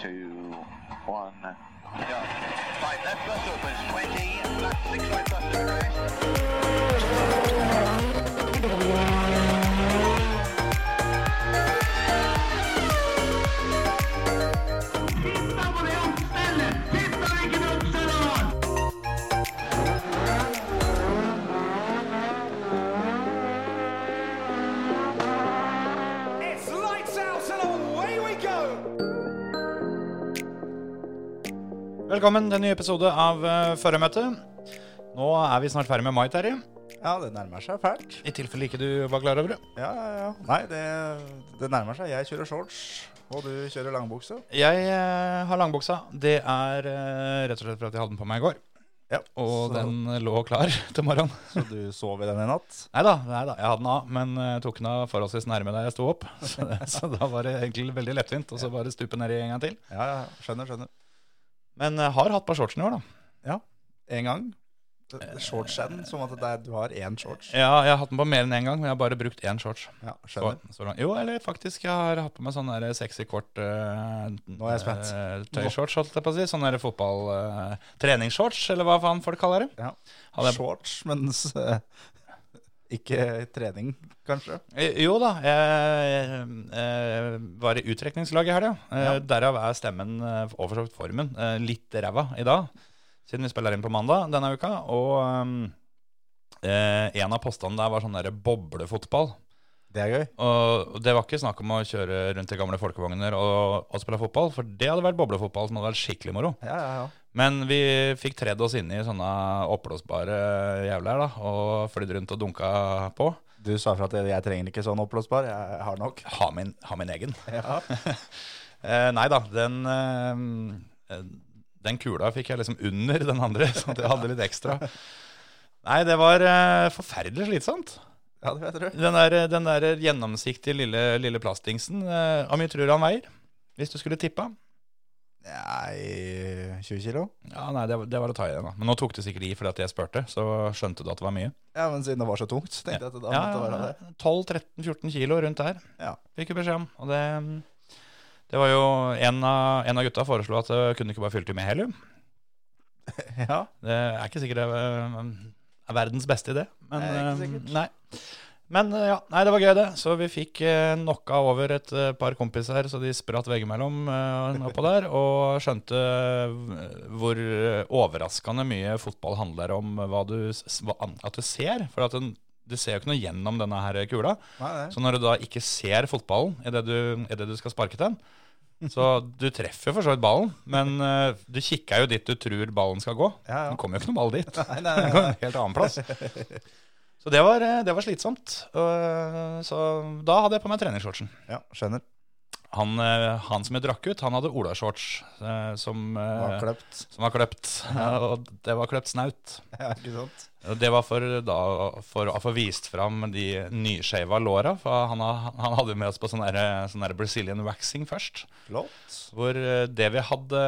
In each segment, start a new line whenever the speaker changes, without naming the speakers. two, one, go. Right, left bus opens 20, left six right bus to crash.
It's lights out and away we go!
Velkommen til en ny episode av eh, Førermøtet. Nå er vi snart ferdig med mai, Terje.
Ja, det nærmer seg fælt.
I tilfelle ikke du var klar over det.
Ja, ja, ja. Nei, det, det nærmer seg. Jeg kjører shorts, og du kjører langbukse.
Jeg eh, har langbuksa. Det er eh, rett og slett fordi jeg hadde den på meg i går.
Ja,
Og
så,
den eh, lå klar til morgenen.
så du sov i den i natt.
Nei da, jeg hadde den av, men eh, tok den av forholdsvis nærme da jeg sto opp. Så, det, så da var det egentlig veldig lettvint, og så bare stupe nedi en gang til.
Ja, ja, skjønner, skjønner.
Men jeg har hatt på shortsen i år, da.
En gang. Eh. Shortsen, som at det er, du har én shorts.
Ja, jeg har hatt den på mer enn én gang, men jeg har bare brukt én shorts.
Ja,
Så,
skjønner.
så langt. Jo, eller faktisk, jeg har hatt på meg sånn der sexy kort uh,
Nå er jeg spent.
tøyshorts, holdt jeg på å si. Sånn der fotball... eh, treningsshorts, eller hva faen folk kaller det.
Ja.
Hadde jeg,
Shorts, mens eh, ikke trening, kanskje.
Eh, jo da, jeg, eh, var i utrekningslag i helga. Eh, Derav er stemmen eh, og for så vidt formen eh, litt ræva i dag, siden vi spiller inn på mandag denne uka. Og eh, eh, en av postene der var sånn der boblefotball.
Det er gøy.
Og det var ikke snakk om å kjøre rundt i gamle folkevogner og, og spille fotball, for det hadde vært boblefotball som hadde vært skikkelig moro.
Ja, ja, ja.
Men vi fikk tredd oss inn i sånne oppblåsbare jævler da, og flydd rundt og dunka på.
Du sa fra at jeg trenger ikke sånn oppblåsbar. Jeg har nok.
Ha min, ha min egen.
Ja.
Eh, nei da, den, eh, eh, den kula fikk jeg liksom under den andre, så jeg hadde litt ekstra. Nei, det var eh, forferdelig slitsomt.
ja, det vet du.
Den der, den der gjennomsiktige lille, lille plastdingsen, eh, hvor mye tror du han veier? Hvis du skulle tippa?
Nei, 20 kilo?
Ja, nei, det, var- det var å ta i den da. Men nå tok du sikkert i fordi at jeg spurte, så skjønte du at det var mye.
Ja, men siden det var så tungt, så tenkte jeg at det da
Ja,
måtte være det.
12-13-14 kilo rundt der.
Ja.
Fikk vi beskjed om. Og det, det var jo en av, en av gutta foreslo at jeg kunne ikke bare fylt i med helium.
Ja,
Det er ikke sikkert det eh, er verdens beste idé. Men,
Nei, ikke
eh,
sikkert.
Nei. Men eh, ja, nei, det var gøy, det. Så vi fikk eh, knocka over et eh, par kompiser, så de spratt veggimellom eh, oppå der. Og skjønte eh, hvor eh, overraskende mye fotball handler om hva du, s- hva, an- at du ser. For at den, du ser jo ikke noe gjennom denne her kula.
nei, nei.
Så når du da ikke ser fotballen idet du, i det du skal sparke den Så du treffer jo for så vidt ballen, men eh, du kikker jo dit du tror ballen skal gå.
Ja, ja.
Den kommer jo ikke noen ball dit.
Nei, nei,
Den
nei,
går
nei.
en helt annen plass. Så det var, eh, det var slitsomt. Og, eh, Så da hadde jeg på meg treningsshortsen.
Ja, skjønner.
Han, eh, han som jeg drakk ut, han hadde olashorts eh, som, eh,
Det var kløpt.
som var kløpt. Og det var kløpt snaut.
Ja, ikke sant?
Og Det var for, da, for å få vist fram de nyskjeva låra. For han, ha- han hadde med oss på sånn der- sånn der Brazilian waxing først.
Flott.
Hvor eh, det vi hadde,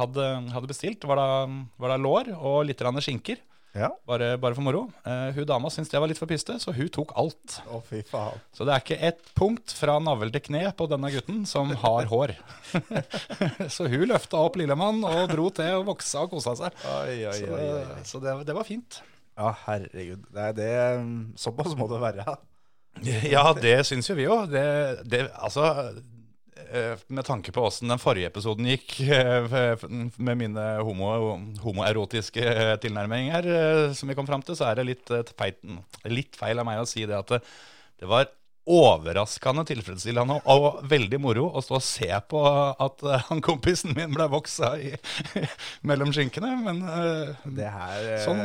hadde, hadde bestilt, var da, var da lår og litt grann skinker.
Ja.
Bare, bare for moro. Eh, hun dama syntes det var litt for pyste, så hun tok alt.
Å, fy faen.
Så det er ikke ett punkt fra navl til kne på denne gutten som har hår. så hun løfta opp lillemann og dro til og voksa og kosa seg.
Oi, oi,
Så,
oi. oi.
så det, det var fint.
Ja, herregud. Det er det mm, Såpass må det være.
Ja, det syns jo vi òg. Det, det, altså, eh, med tanke på åssen den forrige episoden gikk, eh, f- med mine homo, homoerotiske eh, tilnærminger eh, som vi kom fram til, så er det litt, eh, feil, litt feil av meg å si det at det, det var overraskende tilfredsstillende og, og veldig moro å stå og se på at eh, han kompisen min ble voksa i, mellom skinkene, men eh,
Det her eh,
Sånn,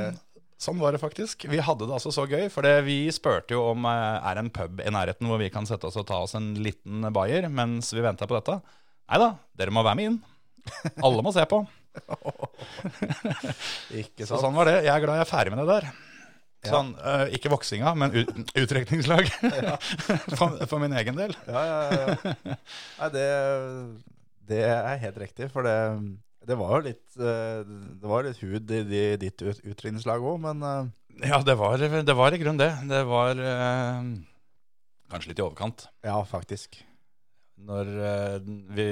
sånn var det faktisk. Vi hadde det altså så gøy, for det- vi spurte jo om eh, er det en pub i nærheten hvor vi kan sette oss og ta oss en liten bayer mens vi venta på dette. Nei da, dere må være med inn. Alle må se på.
Ikke
Så
sant?
sånn var det. Jeg er glad jeg er ferdig med det der. Sånn, eh, ikke voksinga, men ut, utrekningslag. for, for min egen del.
Ja, ja, ja. Nei, det, det er helt riktig, for det, det var jo litt eh, Det var litt hud i de- ditt ut- utrinningslag òg, men eh,
Ja, det var, det var i grunnen det. Det var eh, kanskje litt i overkant.
ja, faktisk.
Når eh, vi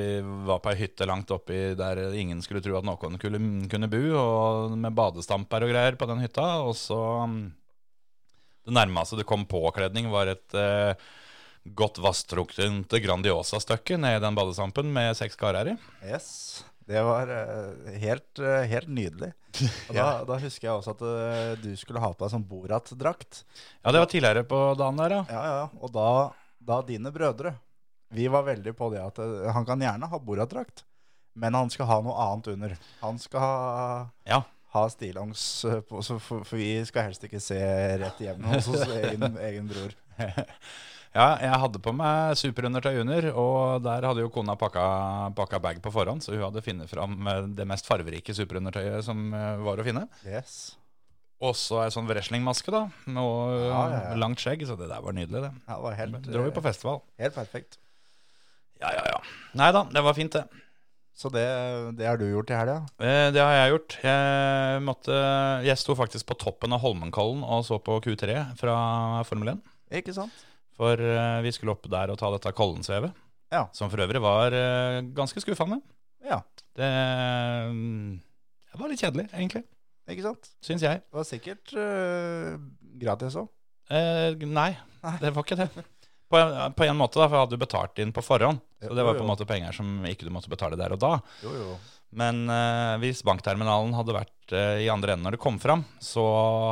var på ei hytte langt oppi der ingen skulle tro at noen kunne, kunne bo, og med badestamper og greier på den hytta. Og så mm, Det nærmeste det kom påkledning, var et eh, godt vasstruktende Grandiosa-stykke nede i den badestampen med seks karer i.
Yes. Det var eh, helt, eh, helt nydelig. Og da, da husker jeg også at eh, du skulle ha på deg sånn Borat-drakt.
Ja, det var tidligere på dagen der, ja.
Ja, ja, ja. Og da, da dine brødre Vi var veldig på det at eh, han kan gjerne ha Borat-drakt, men han skal ha noe annet under. Han skal ha,
ja.
ha stillongs eh, på, så for, for vi skal helst ikke se rett hjem hos oss egen, egen bror.
Ja, jeg hadde på meg superundertøy under, og der hadde jo kona pakka, pakka bag på forhånd, så hun hadde funnet fram eh, det mest farverike superundertøyet som eh, var å finne.
Yes.
Og så ei sånn wrestlingmaske, da, med eh,
Ja, ja, ja.
langt skjegg, så det der var nydelig, det.
Ja, det var helt,
Dro vi på festival.
helt perfekt.
Ja, ja, ja. Nei da, det var fint, det.
Så det, det har du gjort i helga?
Eh, Det har jeg gjort. Jeg, måtte, jeg sto faktisk på toppen av Holmenkollen og så på Q3 fra Formel 1.
Ikke sant?
For eh, vi skulle opp der og ta dette Kollensvevet.
Ja.
Som for øvrig var eh, ganske skuffende.
Ja.
Det mm, det var litt kjedelig, egentlig.
Ikke sant?
Syns jeg.
Det var sikkert øh, gratis òg.
Eh, nei, det var ikke det. På en, på en måte, da, for jeg hadde jo betalt inn på forhånd. Så det var på en måte penger som ikke du måtte betale der og da.
Jo, jo.
Men eh, hvis bankterminalen hadde vært eh, i andre enden når det kom fram, så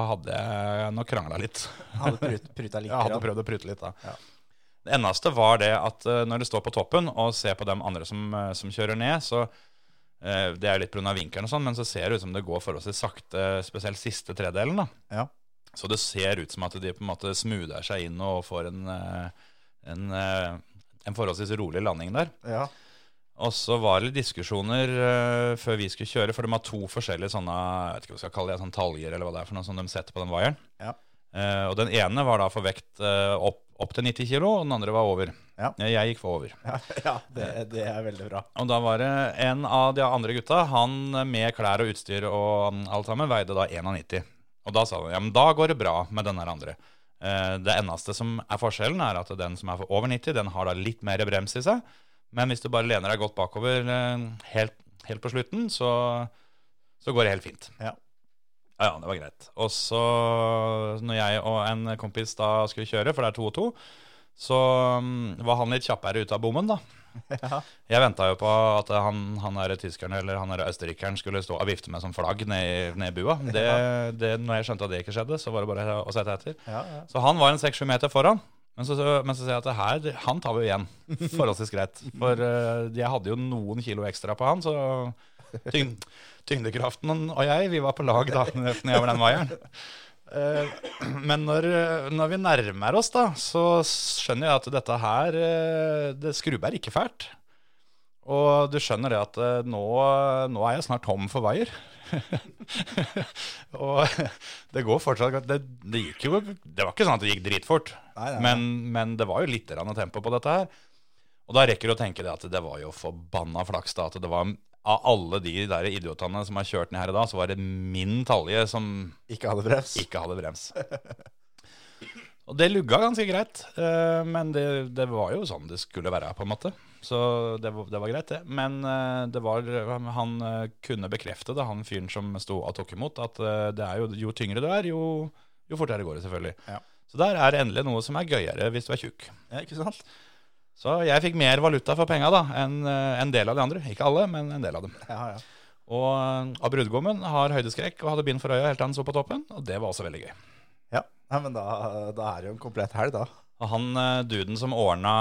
hadde jeg nok krangla litt.
Hadde prut, pruta litt.
Jeg hadde
grann.
prøvd å prute litt, da.
Ja.
Det eneste var det at eh, når du står på toppen og ser på de andre som, eh, som kjører ned, så eh, Det er jo litt pga. vinkelen og sånn, men så ser det ut som det går forholdsvis sakte, spesielt siste tredelen, da.
Ja.
Så det ser ut som at de på en måte smoother seg inn og får en, eh, en, eh, en forholdsvis rolig landing der.
Ja.
Og så var det litt diskusjoner eh, før vi skulle kjøre, for de har to forskjellige sånne jeg vet ikke hva jeg skal kalle det, sånn taljer eller hva det er for noe som de setter på den vaieren.
Ja.
Eh, og den ene var da for vekt eh, opp, opp til 90 kilo, og den andre var over. Eh,
Ja.
Jeg gikk for over.
ja, ja det, det er veldig bra.
Og da var det en av de andre gutta, han med klær og utstyr og mm, alt sammen, veide da 91. Og da sa han, ja, men da går det bra med den her andre. Eh, Det eneste som er forskjellen er at den som er for over 90, den har da litt mer brems i seg. Men hvis du bare lener deg godt bakover eh, helt, helt på slutten, så, så går det helt fint.
Ja.
Ja, ja, det var greit. Og så når jeg og en kompis da skulle kjøre, for det er to og to, så mm, var han litt kjappere ut av bommen da.
Ja.
Jeg venta jo på at han, han der tyskeren eller han der østerrikeren skulle stå og vifte med som flagg ned i- ned i bua. Det, det, når jeg skjønte at det ikke skjedde, så var det bare å sette etter.
Ja, ja.
Så han var en 6-7 meter foran. Men så, så- men så ser jeg at det her, det- han tar vi jo igjen. Forholdsvis greit. For eh, jeg hadde jo noen kilo ekstra på han, så tyng, tyngdekraften og jeg, vi var på lag da nedover den vaieren. Eh, Men når, eh, når vi nærmer oss, da, så skjønner jeg at dette her eh, Det skrubber ikke fælt. Og du skjønner det at eh, nå, nå er jeg snart tom for vaier. og det går fortsatt godt. Det, det gikk jo Det var ikke sånn at det gikk dritfort,
Nei, nei, nei.
men, men det var jo litt grann tempo på dette her. Og da rekker du å tenke det at det var jo forbanna flaks da, at det var av alle de der idiotene som har kjørt ned her i dag, så var det min talje som
Ikke hadde brems.
ikke hadde brems. Og det lugga ganske greit, eh, men det, det var jo sånn det skulle være, på en måte. Så det, var- det var greit, det. Men eh, det var, han eh, kunne bekrefte det, han fyren som sto og tok imot, at eh, det er jo, jo tyngre du er, jo, jo fortere går det, selvfølgelig.
Ja.
Så der er endelig noe som er gøyere hvis du er tjukk.
Ja, ikke sant?
Så jeg fikk mer valuta for penga da, enn eh, en del av de andre. Ikke alle, men en del av dem.
Ja, ja.
Og eh, av brudgommen har høydeskrekk og hadde bind for øya helt til han så på toppen, og det var også veldig gøy.
ja. Nei, men da, da er det jo en komplett helg, da.
Og han eh, duden som ordna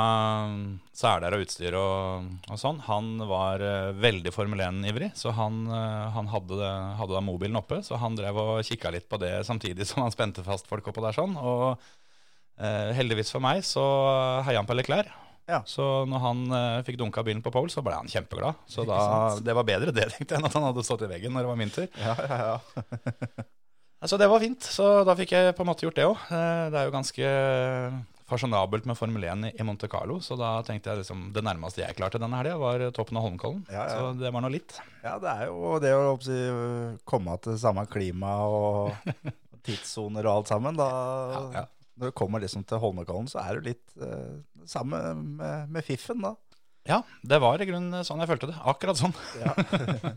mm, seler og utstyr og, og sånn, han var eh, veldig Formel 1-ivrig. Så han, eh, han hadde, det, hadde da mobilen oppe, så han drev og kikka litt på det samtidig som han spente fast folk oppå der sånn. Og eh, heldigvis for meg så heia han på Leclerc.
Ja.
Så når han eh, fikk dunka bilen på pole, så ble han kjempeglad. Så
Ikke
da,
sant?
det var bedre det, tenkte jeg, enn at han hadde stått i veggen når det var min tur.
Ja, ja, ja.
Altså, det var fint, så da fikk jeg på en måte gjort det òg. Det er jo ganske eh, fasjonabelt med Formel 1 i- i Monte Carlo, så da tenkte jeg liksom det nærmeste jeg klarte denne helga, var toppen av Holmenkollen.
Ja, ja.
Så det var nå litt.
Ja, det er jo det å oppsi, komme til samme klima og tidssoner og alt sammen. Da,
Ja, ja.
Når du kommer liksom til Holmenkollen, så er du litt eh, samme øh, med, med fiffen, da.
Ja, det var i grunnen sånn jeg følte det. Akkurat sånn.
Ja.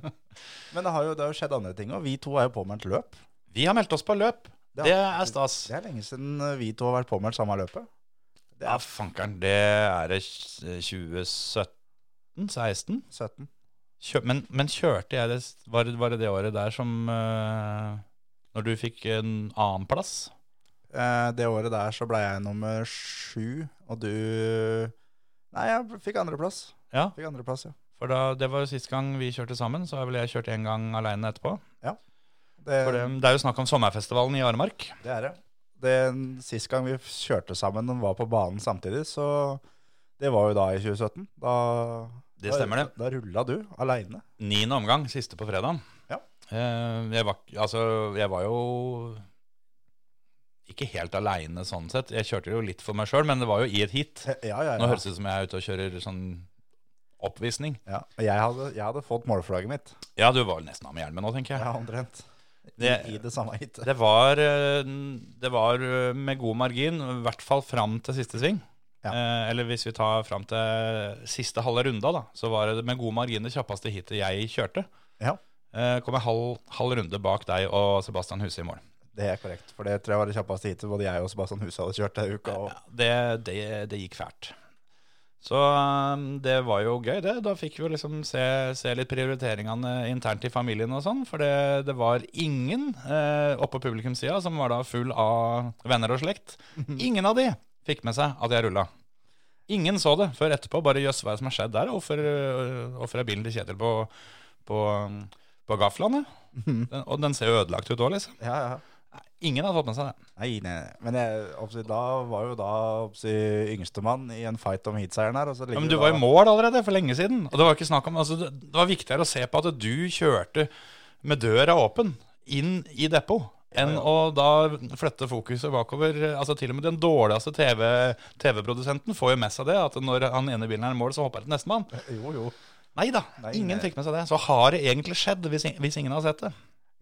Men det har jo, det har jo skjedd andre ting òg. Vi to er jo påmeldt løp.
Vi har meldt oss på løp.
Ja.
Det er stas.
Det er lenge siden eh, vi to har vært påmeldt samme løpet. Det
Ja,
er
Ah, fankeren. Det er det eh, 2017-16.
17.
Kjø men, men kjørte jeg det var, det- var det det året der som eh, Når du fikk en annen plass?
Eh, Det året der så ble jeg nummer sju, og du Nei, jeg fikk andreplass.
Ja,
Fikk andreplass, ja.
for da, det var jo sist gang vi kjørte sammen. Så har vel jeg kjørt én gang aleine etterpå.
Det,
For det, det er jo snakk om sommerfestivalen i Aremark.
det er det. det. Sist gang vi kjørte sammen og var på banen samtidig, så Det var jo da i 2017. Da,
Det stemmer det.
Da, da rulla du aleine.
Niende omgang, siste på fredagen.
Ja.
Eh, jeg, var, ikke- altså, jeg var jo ikke helt aleine sånn sett. Jeg kjørte jo litt for meg sjøl, men det var jo i et heat.
Ja, ja, ja.
Nå høres det ut som jeg er ute og kjører sånn oppvisning.
ja. Jeg, hadde, jeg hadde fått målflagget mitt.
Ja, du var nesten av med hjelmen nå, tenker jeg.
Ja, omtrent. I,
Det-
I det samme heatet.
Det var, eh, det var eh, med god margin, i hvert fall fram til siste sving.
Ja.
Eh, eller hvis vi tar fram til siste halve runda, da, så var det med god margin det kjappeste hitet jeg kjørte.
Ja.
Eh, kom jeg halv, halv runde bak deg og Sebastian Huse i mål.
Det er korrekt, for det tror jeg var det kjappeste heatet både jeg og Sebastian Huse hadde kjørt denne uka. Og,
Ja, det, det, det gikk fælt. Så um, det var jo gøy, det. Da fikk vi jo liksom se, se litt prioriteringene internt i familien og sånn. For det, det var ingen eh, oppe på publikumssida, som var da full av venner og slekt, ingen av de fikk med seg at jeg rulla. Ingen så det før etterpå. Bare jøss, hva er det som har skjedd der? Hvorfor, øh, hvorfor er bilen til Kjetil på, på, um, på gaflene? Den, og den ser jo ødelagt ut òg, liksom.
ja, ja.
Ingen har fått med seg det.
Nei, nei, nei. Men jeg, oppsi, da var jo da oppsi, yngstemann i en fight om heatseieren her. Og så ligger
Ja, men
det
du var
da-
i mål allerede for lenge siden. Og det var ikke snakk om altså, Det det var viktigere å se på at du kjørte med døra åpen inn i depot, enn å da flytte fokuset bakover. Altså Til og med den dårligste TV TV-produsenten får jo med seg det. At når han ene bilen er i mål, så hopper det til nestemann.
Jo, jo.
Nei da,
Nei,
ingen
nei.
fikk med seg det. Så har det egentlig skjedd, hvis, ing- hvis ingen har sett det.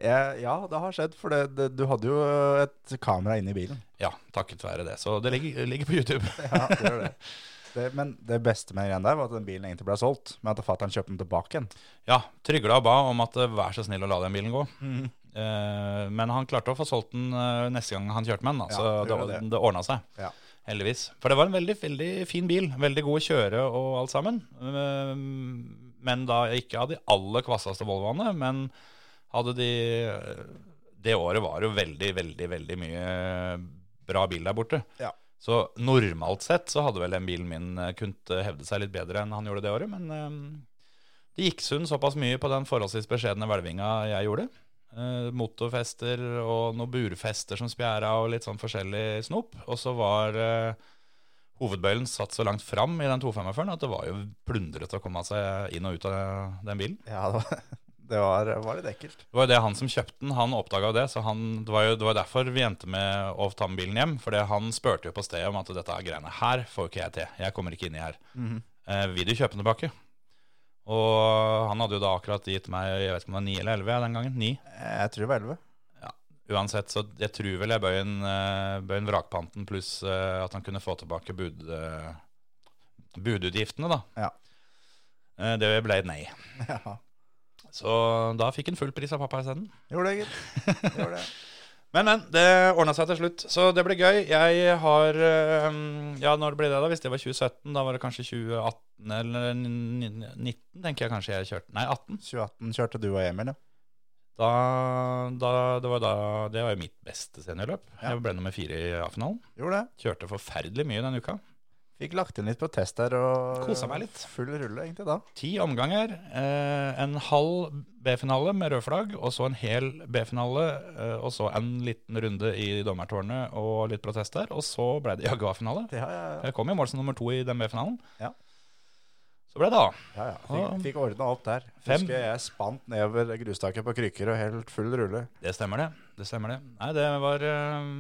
Jeg, ja, det har skjedd, for det, det, du hadde jo et kamera inne i bilen.
Ja, takket være det. Så det ligger, ligger på YouTube.
Ja, det gjør det. det men det beste med den der var at den bilen egentlig ble solgt, men at fatter'n kjøpte den tilbake igjen.
Ja, Trygla ba om at eh, vær så snill å la den bilen gå.
Mhm.
Eh, men han klarte å få solgt den eh, neste gang han kjørte med den. Da,
Ja,
så
det
det,
gjorde
var-
det.
det ordna seg.
Ja.
Heldigvis. For det var en veldig, veldig fin bil. Veldig god å kjøre og alt sammen. Eh, men da ikke av de aller kvasseste Volvoene, men hadde de eh, Det året var jo veldig, veldig, veldig mye bra bil der borte.
Ja.
Så normalt sett så hadde vel den bilen min eh, kunnet hevde seg litt bedre enn han gjorde det året, men eh, det gikk sund såpass mye på den forholdsvis beskjedne hvelvinga jeg gjorde. Eh, motorfester og noen burfester som spjæra og litt sånn forskjellig snop. Og så var eh, hovedbøylen satt så langt fram i den 245-en at det var jo plundret å komme seg inn og ut av den bilen.
Ja, det var, det var, var litt ekkelt.
Det var jo det han som kjøpte den, han oppdaga det. Så han, det, var jo, det var derfor vi endte med å ta med bilen hjem. For han spurte jo på stedet om at dette er greiene her får ikke jeg til. Jeg kommer ikke inni her.
Mhm.
eh, vil du kjøpe den tilbake? Og han hadde jo da akkurat gitt meg jeg vet ikke om det var 9 eller 11 den gangen. 9.
Jeg tror det var 11.
Uansett, så jeg tror vel jeg bøy en, eh, bøy en vrakpanten pluss eh, at han kunne få tilbake bud, eh, budutgiftene, da.
Ja.
Eh, Det ble et nei.
Ja.
Så da fikk han full pris av pappa isteden.
Gjorde det, gitt. Gjorde det.
Men, men. Det ordna seg til slutt, så det ble gøy. Jeg har eh, Ja, når ble det, da? Hvis det var 2017, da var det kanskje 2018 eller 2019, tenker jeg kanskje jeg kjørte. Nei, 18.
2018 kjørte du og Emil, ja.
Da, da, det, var da, det var jo mitt beste seniorløp.
Ja.
Jeg ble nummer fire i A-finalen.
Gjorde det.
Kjørte forferdelig mye denne uka.
Fikk lagt inn litt på test der og
Kosa meg litt.
Full rulle, egentlig, da.
Ti omganger, eh, en halv B-finale med rød flagg, og så en hel B-finale, eh, og så en liten runde i dommertårnet og litt protest der, og så ble det jaggu A-finale.
Ja, ja, ja.
Jeg kom i mål som nummer to i den B-finalen.
Ja.
Så ble det A.
Ja, ja.
Og-
Fikk, fikk ordna opp der.
Fem.
Husker jeg spant nedover grustaket på krykker og helt full rulle.
Det stemmer det. Det stemmer det. Nei, det var eh,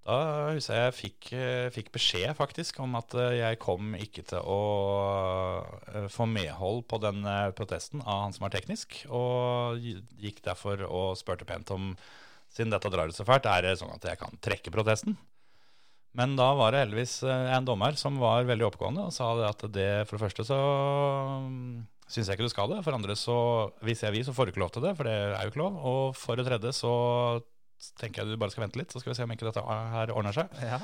Da husker jeg jeg fikk, eh, fikk beskjed faktisk om at eh, jeg kom ikke til å eh, få medhold på den eh, protesten av han som var teknisk, og gikk derfor og spurte pent om siden dette drar ut så fælt, er det sånn at jeg kan trekke protesten? Men da var det heldigvis eh, en dommer som var veldig oppegående og sa det at det for det første så mm, syns jeg ikke du skal det. For det andre så hvis jeg vil, så får du ikke lov til det, for det er jo ikke lov. Og for det tredje så tenker jeg du bare skal vente litt, så skal vi se om ikke dette her ordner seg.
Ja.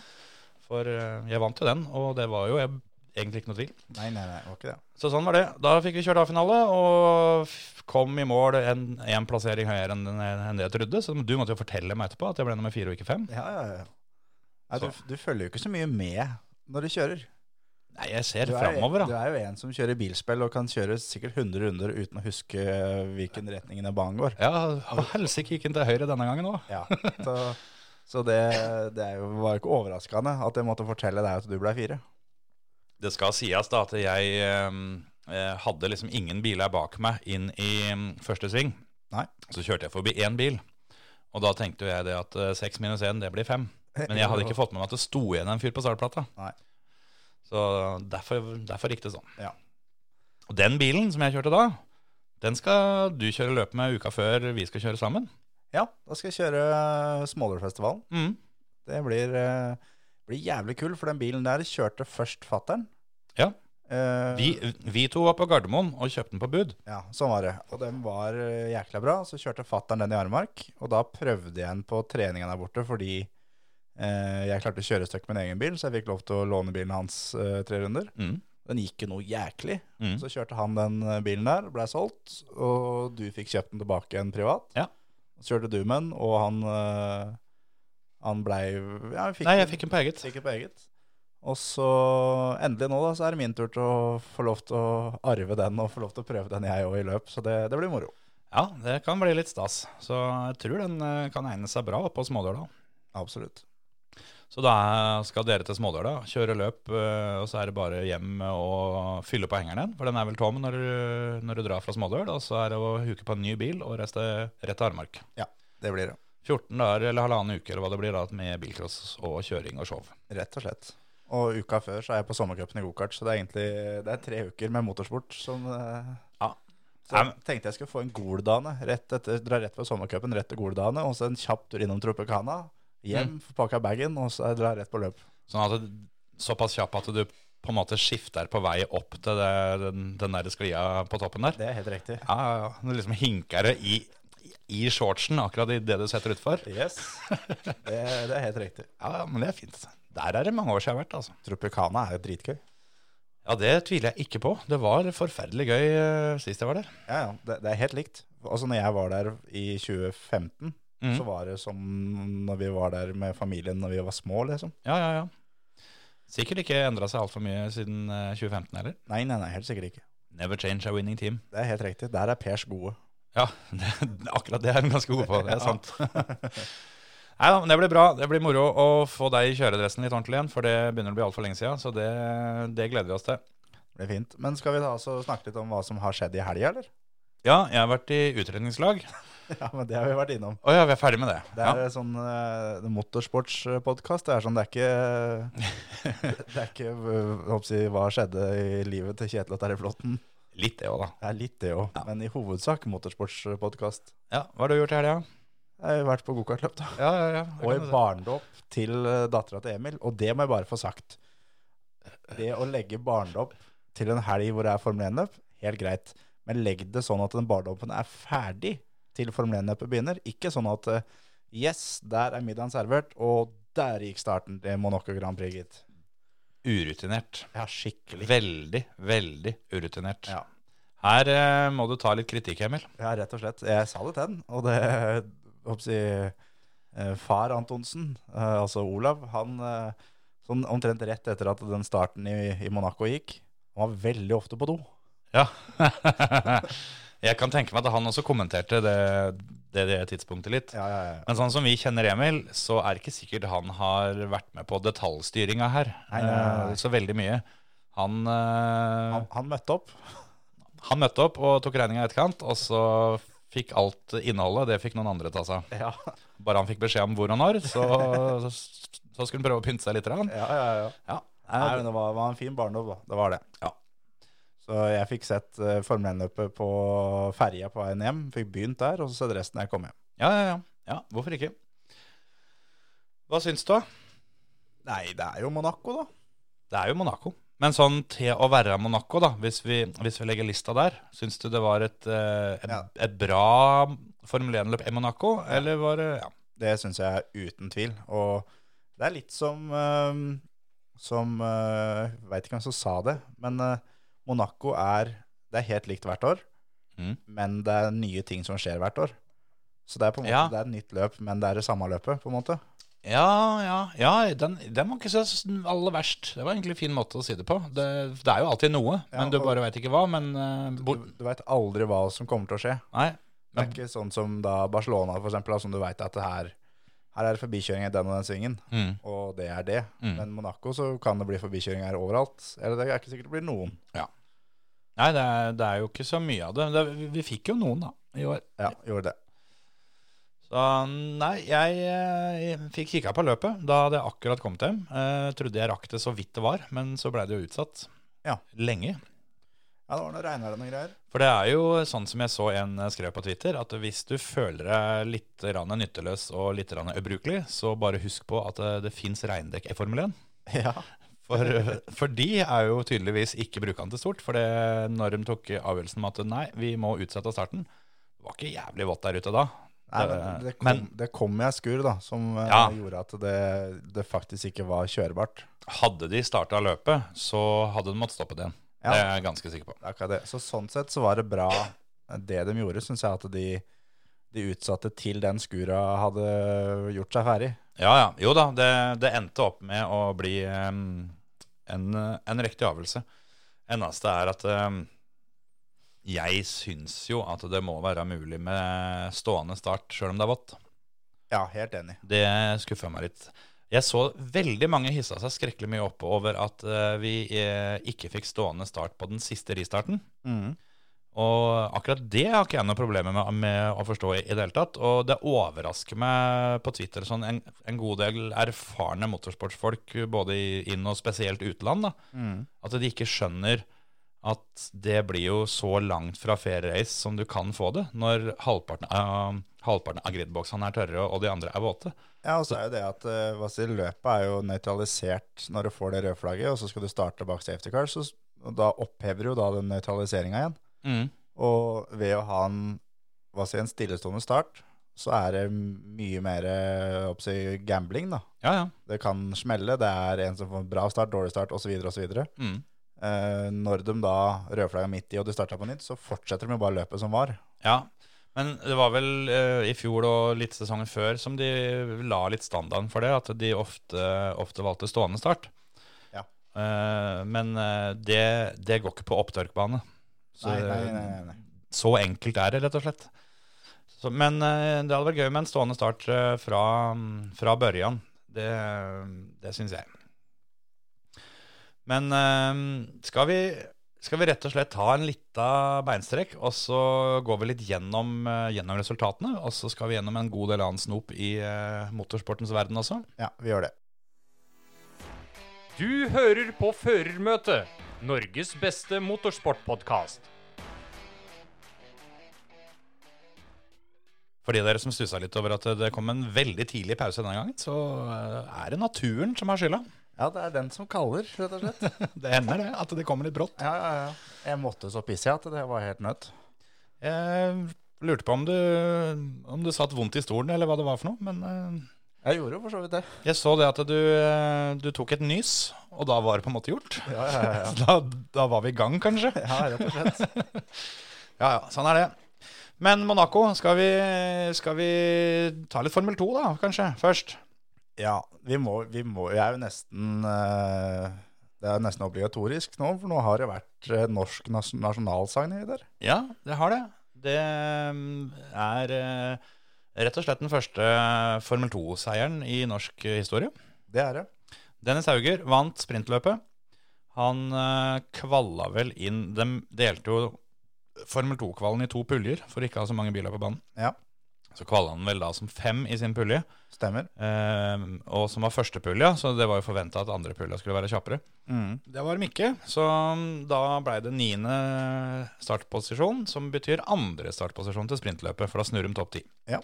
For eh, jeg vant jo den, og det var jo eh, egentlig ikke noe tvil.
Nei, nei, nei, det var ikke det.
Så sånn var det. Da fikk vi kjørt A-finale og f- kom i mål en, en plassering høyere enn, enn det jeg trodde. Så du måtte jo fortelle meg etterpå at jeg ble nummer fire og ikke fem.
Ja, ja, ja. Nei, du, du følger jo ikke så mye med når du kjører.
Nei, jeg ser
Du er,
framover,
du
da.
er jo en som kjører bilspill og kan kjøre sikkert 100 runder uten å huske eh, hvilken retning den banen går.
Ja, å, helsike gikk den til høyre denne gangen òg.
Ja, så, så det, det er jo, var jo ikke overraskende at jeg måtte fortelle deg at du ble fire.
Det skal sies da at jeg ehm, eh, hadde liksom ingen biler bak meg inn i mm, første sving.
Nei.
Så kjørte jeg forbi én bil, og da tenkte jo jeg det at eh, seks minus én, det blir fem. Men jeg hadde ikke fått med meg at det sto igjen en fyr på startplata.
Nei.
Så derfor, derfor gikk det sånn.
Ja.
Og den bilen som jeg kjørte da, den skal du kjøre løp med uka før vi skal kjøre sammen.
Ja, da skal jeg kjøre eh, Smålerfestivalen.
Mm.
Det blir, eh, blir jævlig kul, for den bilen der kjørte først fatteren.
Ja.
Eh,
Vi, vi to var på Gardermoen og kjøpte den på bud.
Ja, sånn var det. Og den var eh, jækla bra. Så kjørte fattern den i Armark, og da prøvde jeg den på treninga der borte fordi eh, jeg klarte å kjøre støkk med min egen bil, så jeg fikk lov til å låne bilen hans eh, tre runder.
Mm.
Den gikk jo noe jæklig.
Mm.
Så kjørte han den eh, bilen der, blei solgt, og du fikk kjøpt den tilbake en privat.
Ja.
Så kjørte du med den, og han, eh, han blei ja, vi fikk
Nei,
den.
jeg fikk den på eget.
Sikkert på eget. Og så endelig nå, da, så er det min tur til å få lov til å arve den og få lov til å prøve den jeg òg i løp, så det, det blir moro.
Ja, det kan bli litt stas. Så jeg tror den eh, kan egne seg bra på Smådøla.
Absolutt.
Så da skal dere til Smådøla, kjøre løp, eh, og så er det bare hjem og fylle på hengeren igjen. For den er vel tom når, du- når du drar fra Smådøl, og så er det å huke på en ny bil og reise rett til Armark.
Ja, det blir det.
14 dager eller halvannen uke eller hva det blir da, med bilcross og kjøring og show.
Rett og slett. Og uka før så er jeg på sommercupen i gokart, så det er egentlig det er tre uker med motorsport som eh,
Ja.
Så jeg tenkte jeg skulle få en Goldane. Rett etter, dra rett fra sommercupen, rett til Goldane, og så en kjapp tur innom Tropicana. Hjem, få pakka bagen, og så dra rett på løp.
Sånn at det, såpass kjapp at du på en måte skifter på vei opp til det, den, den der sklia på toppen der.
Det er helt riktig.
Ja, ja, ja. Du liksom hinker det i, i shortsen akkurat i det du setter utfor.
Yes. Det, det er helt riktig.
Ja, men det er fint. Der er det mange år siden jeg har vært, altså.
Tropicana er jo dritgøy.
Ja, det tviler jeg ikke på. Det var forferdelig gøy eh, sist jeg var der.
Ja, ja, det, det er helt likt. Altså når jeg var der i 2015,
Mhm.
så var det som når vi var der med familien når vi var små, liksom.
Ja, ja, ja. Sikkert ikke endra seg altfor mye siden eh, 2015 heller.
Nei, nei, nei, helt sikkert ikke.
Never change a winning team.
Det er helt riktig. Der er Pers gode.
Ja, det, akkurat det er hun ganske god på. Det er sant. Nei da, men det blir bra. Det blir moro å få deg i kjøredressen litt ordentlig igjen, for det begynner å bli altfor lenge siden. Så det, det gleder vi oss til.
Det blir fint. Men skal vi da også snakke litt om hva som har skjedd i helga, eller?
Ja, jeg har vært i utredningslag.
Ja, men det har vi vært innom.
Å ja, vi er ferdig med det.
Det
Ja.
er sånn uh, motorsportspodkast. Det er sånn, det er ikke Det er ikke eh, håper jeg, hva skjedde i livet til Kjetil og Terje Flåtten.
Litt det òg, da.
Det er litt det òg, men i hovedsak motorsportspodkast.
Ja, Hva har du gjort i helga?
Jeg har vært på gokartløp, da.
Ja, ja, ja. det
Og
kan du
i
si.
barndåp til eh, dattera til Emil. Og det må jeg bare få sagt. Det å legge barndåp til en helg hvor det er Formel 1-løp, helt greit. Men legg det sånn at den barndåpen er ferdig til Formel 1-løpet begynner. Ikke sånn at eh, Yes, der er middagen servert, og der gikk starten til Monaco Grand Prix, gitt.
Urutinert.
Ja, skikkelig.
Veldig, veldig urutinert.
Ja.
Her eh, må du ta litt kritikk, Emil.
Ja, rett og slett. Jeg sa det til han, og det håper jeg, eh, Far Antonsen, eh, altså Olav, han eh, sånn omtrent rett etter at den starten i, i Monaco gikk, han var veldig ofte på do.
Ja. jeg kan tenke meg at han også kommenterte det, det, det tidspunktet litt.
Ja, ja, ja.
Men sånn som vi kjenner Emil, så er det ikke sikkert han har vært med på detaljstyringa her
Nei, nei, nei, nei.
eh, så veldig mye. Han, eh,
Han, han møtte opp.
han møtte opp og tok regninga i etterkant, og så fikk alt innholdet, det fikk noen andre ta seg av.
Ja,
Bare han fikk beskjed om hvor og når, så, så, så skulle han prøve å pynte seg litt. grann.
ja, ja. ja.
Ja.
Nei, men det var, var en fin barndom, da. Det var det.
Ja.
Så jeg fikk sett eh, Formel 1-løpet på ferja på veien hjem, fikk begynt der, og så sett resten da jeg kom hjem.
Ja, ja, ja. ja hvorfor ikke? Hva syns du?
Nei, det er jo Monaco, da.
Det er jo Monaco. Men sånn til å være Monaco, da, hvis vi, hvis vi legger lista der, syns du det var et, eh, et,
Ja.
et bra Formel 1-løp i Monaco, eller var det ja.
Det syns jeg er uten tvil. Og det er litt som eh, Som uh, Veit ikke hvem som sa det, men eh, Monaco er Det er helt likt hvert år,
Mm.
men det er nye ting som skjer hvert år. Så det er på en måte
Ja.
Det er et nytt løp, men det er det samme løpet, på en måte.
Ja, ja, ja den, den var ikke så s- aller verst. Det var egentlig en fin måte å si det på. Det, det er jo alltid noe,
Ja,
men du
og-
bare veit ikke hva. Men eh,
Du,
bor,
du veit aldri hva som kommer til å skje.
Nei.
Det er ikke sånn som da Barcelona, for eksempel, da, som du veit at det her, her er det forbikjøring i den og den svingen,
Mm.
og det er det.
Mm.
Men Monaco så kan det bli forbikjøring her overalt. Eller det er ikke sikkert det blir noen.
Nei, det er, det er jo ikke så mye av det. det vi, vi fikk jo noen, da, i år.
Ja, gjorde det.
Så nei, jeg, eh, jeg fikk kikka på løpet da hadde jeg akkurat kommet hjem. Eh, trodde jeg rakk det så vidt det var, men så blei det jo utsatt.
Ja.
Lenge.
Ja, det var noe regnvær og noen greier.
For det er jo sånn som jeg så en eh, skrev på Twitter, at hvis du føler deg litt grann nytteløs og litt grann ubrukelig, så bare husk på at eh, det fins regndekk i Formel 1.
Ja.
For, eh, for de er jo tydeligvis ikke brukende til stort. For det, når de tok avgjørelsen om at nei, vi må utsette starten, det var ikke jævlig vått der ute da.
Nei,
Det-
men det kom,
men-
det kom jeg skur, da, som eh,
Ja.
gjorde at det, det faktisk ikke var kjørbart.
Hadde de starta løpet, så hadde de måttet stoppe det igjen.
Ja.
Det er jeg ganske sikker på.
Det er akkurat det. Så sånn sett så var det bra eh, det de gjorde, syns jeg, at de, de utsatte til den skura hadde gjort seg ferdig.
Ja, ja. Jo da, det, det endte opp med å bli em, en, en riktig avgjørelse. Eneste er at em, jeg syns jo at det må være mulig med stående start sjøl om det er vått.
Ja, helt enig.
Det skuffa meg litt. Jeg så veldig mange hissa seg skrekkelig mye opp over at eh, vi eh, ikke fikk stående start på den siste ristarten. Mm. Og akkurat det har ikke jeg noe problemer med, med å forstå i, i det hele tatt. Og det overrasker meg på Twitter sånn en, en god del erfarne motorsportsfolk, både i, inn og spesielt utenland, da, at de ikke skjønner at det blir jo så langt fra fair race som du kan få det, når halvparten av, halvparten av gridboksene er tørre og de andre er våte.
Ja, og så er jo det at eh, hva sier, løpet er jo nøytralisert når du får det røde flagget, og så skal du starte bak safety car, så s- og da opphever du da den nøytraliseringa igjen. Og ved å ha en, hva sier, en stillestående start, så er det mye mer eh, hva sier, gambling, da.
Ja, ja.
Det kan smelle, det er en som får en bra start, dårlig start, osv., osv.
Mm.
Eh, når de da rødflagga midt i, og du starter på nytt, så fortsetter de jo bare løpet som var.
Ja, men det var vel eh, i fjor og litt sesongen før som de la litt standarden for det, at de ofte, ofte valgte stående start.
Ja.
Eh, men eh, det, det går ikke på opptørkbane. Så,
Nei, nei, nei, nei, nei.
så enkelt er det, rett og slett. Så, men eh, det hadde vært gøy med en stående start eh, fra, fra børjan. Det, det syns jeg. Men eh, skal vi, skal vi rett og slett ta en lita beinstrekk, og så går vi litt gjennom, eh, gjennom resultatene, og så skal vi gjennom en god del annen snop i eh, motorsportens verden også.
Ja, vi gjør det.
Du hører på Førermøtet, Norges beste motorsportpodkast.
For de dere som stussa litt over at eh, det kom en veldig tidlig pause denne gangen, så eh, er det naturen som har skylda.
Ja, det er den som kaller, rett og slett.
Det hender det, at det kommer litt brått.
Ja, ja, ja. Jeg måtte så pisse jeg at det var helt nødt.
Jeg lurte på om du, om du satt vondt i stolen, eller hva det var for noe. Men eh,
Jeg gjorde jo for så vidt det.
jeg så det at du, eh, du tok et nys, og da var det på en måte gjort.
Ja, ja, ja.
Så da, da var vi i gang, kanskje.
ja rett og slett.
Ja, ja, sånn er det. Men Monaco, skal vi, skal vi ta litt Formel 2 da, kanskje, først?
Ja, vi må, vi må Jeg er jo nesten eh, Det er nesten obligatorisk nå, for nå har det vært eh, norsk nas nasjonalsang nedi der.
Ja, det har det. Det eh, er eh, rett og slett den første eh, Formel 2-seieren i norsk eh, historie.
Det er det.
Dennis Hauger vant sprintløpet. Han eh, kvalla vel inn De delte jo Formel 2-kvalen i to puljer for ikke å ha så mange biler på banen.
Ja.
Så kvala han vel da som fem i sin pulje,
Stemmer.
eh, og som var første pulja, så det var jo forventa at andre pulja skulle være kjappere.
Mm.
Det var de ikke, så um, da blei det niende startposisjon, som betyr andre startposisjon til sprintløpet, for da snurrer de topp ti.
Ja.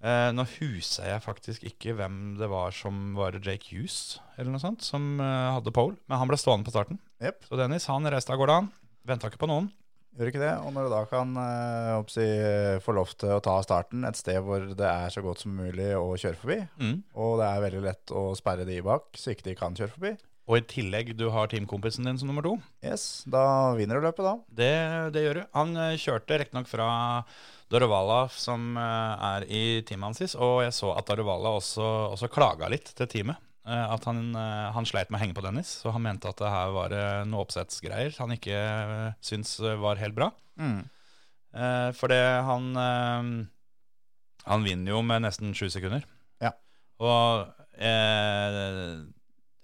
Eh, nå huser jeg faktisk ikke hvem det var som var Jake Hughes, eller noe sånt, som eh, hadde pole. Men han ble stående på starten.
Jep.
Så Dennis han reiste av gårde, han. Venta ikke på noen.
Gjør ikke det. Og når du da kan eh, håper jeg å si, få lov til å ta starten et sted hvor det er så godt som mulig å kjøre forbi,
Mm.
og det er veldig lett å sperre de bak så ikke de kan kjøre forbi,
Og i tillegg, du har teamkompisen din som nummer to.
yes, da vinner du løpet, da.
Det, det gjør du. Han eh, kjørte riktignok fra Darovala, som eh, er i teamet hans, og jeg så at Darovala også, også klaga litt til teamet. eh, At han, eh, han sleit med å henge på Dennis, så han mente at det her var eh, noe oppsettsgreier han ikke eh, syntes eh, var helt bra. Eh, For det han eh, Han vinner jo med nesten sju sekunder.
Ja.
Og eh,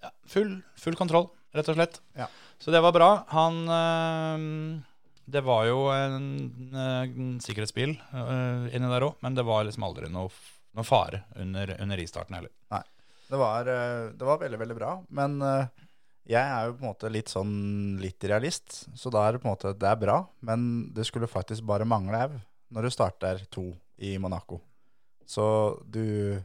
ja, full, full kontroll, rett og slett.
Ja.
Så det var bra. Han eh, Det var jo en, eh, sikkerhetsbil eh, inni der òg, men det var liksom aldri noe, f- noe fare under, under ristarten heller.
Det var, eh, det var veldig, veldig bra. Men eh, jeg er jo på en måte litt sånn litt realist, så da er det på en måte det er bra. Men det skulle faktisk bare mangle au når du starter to i Monaco. Så du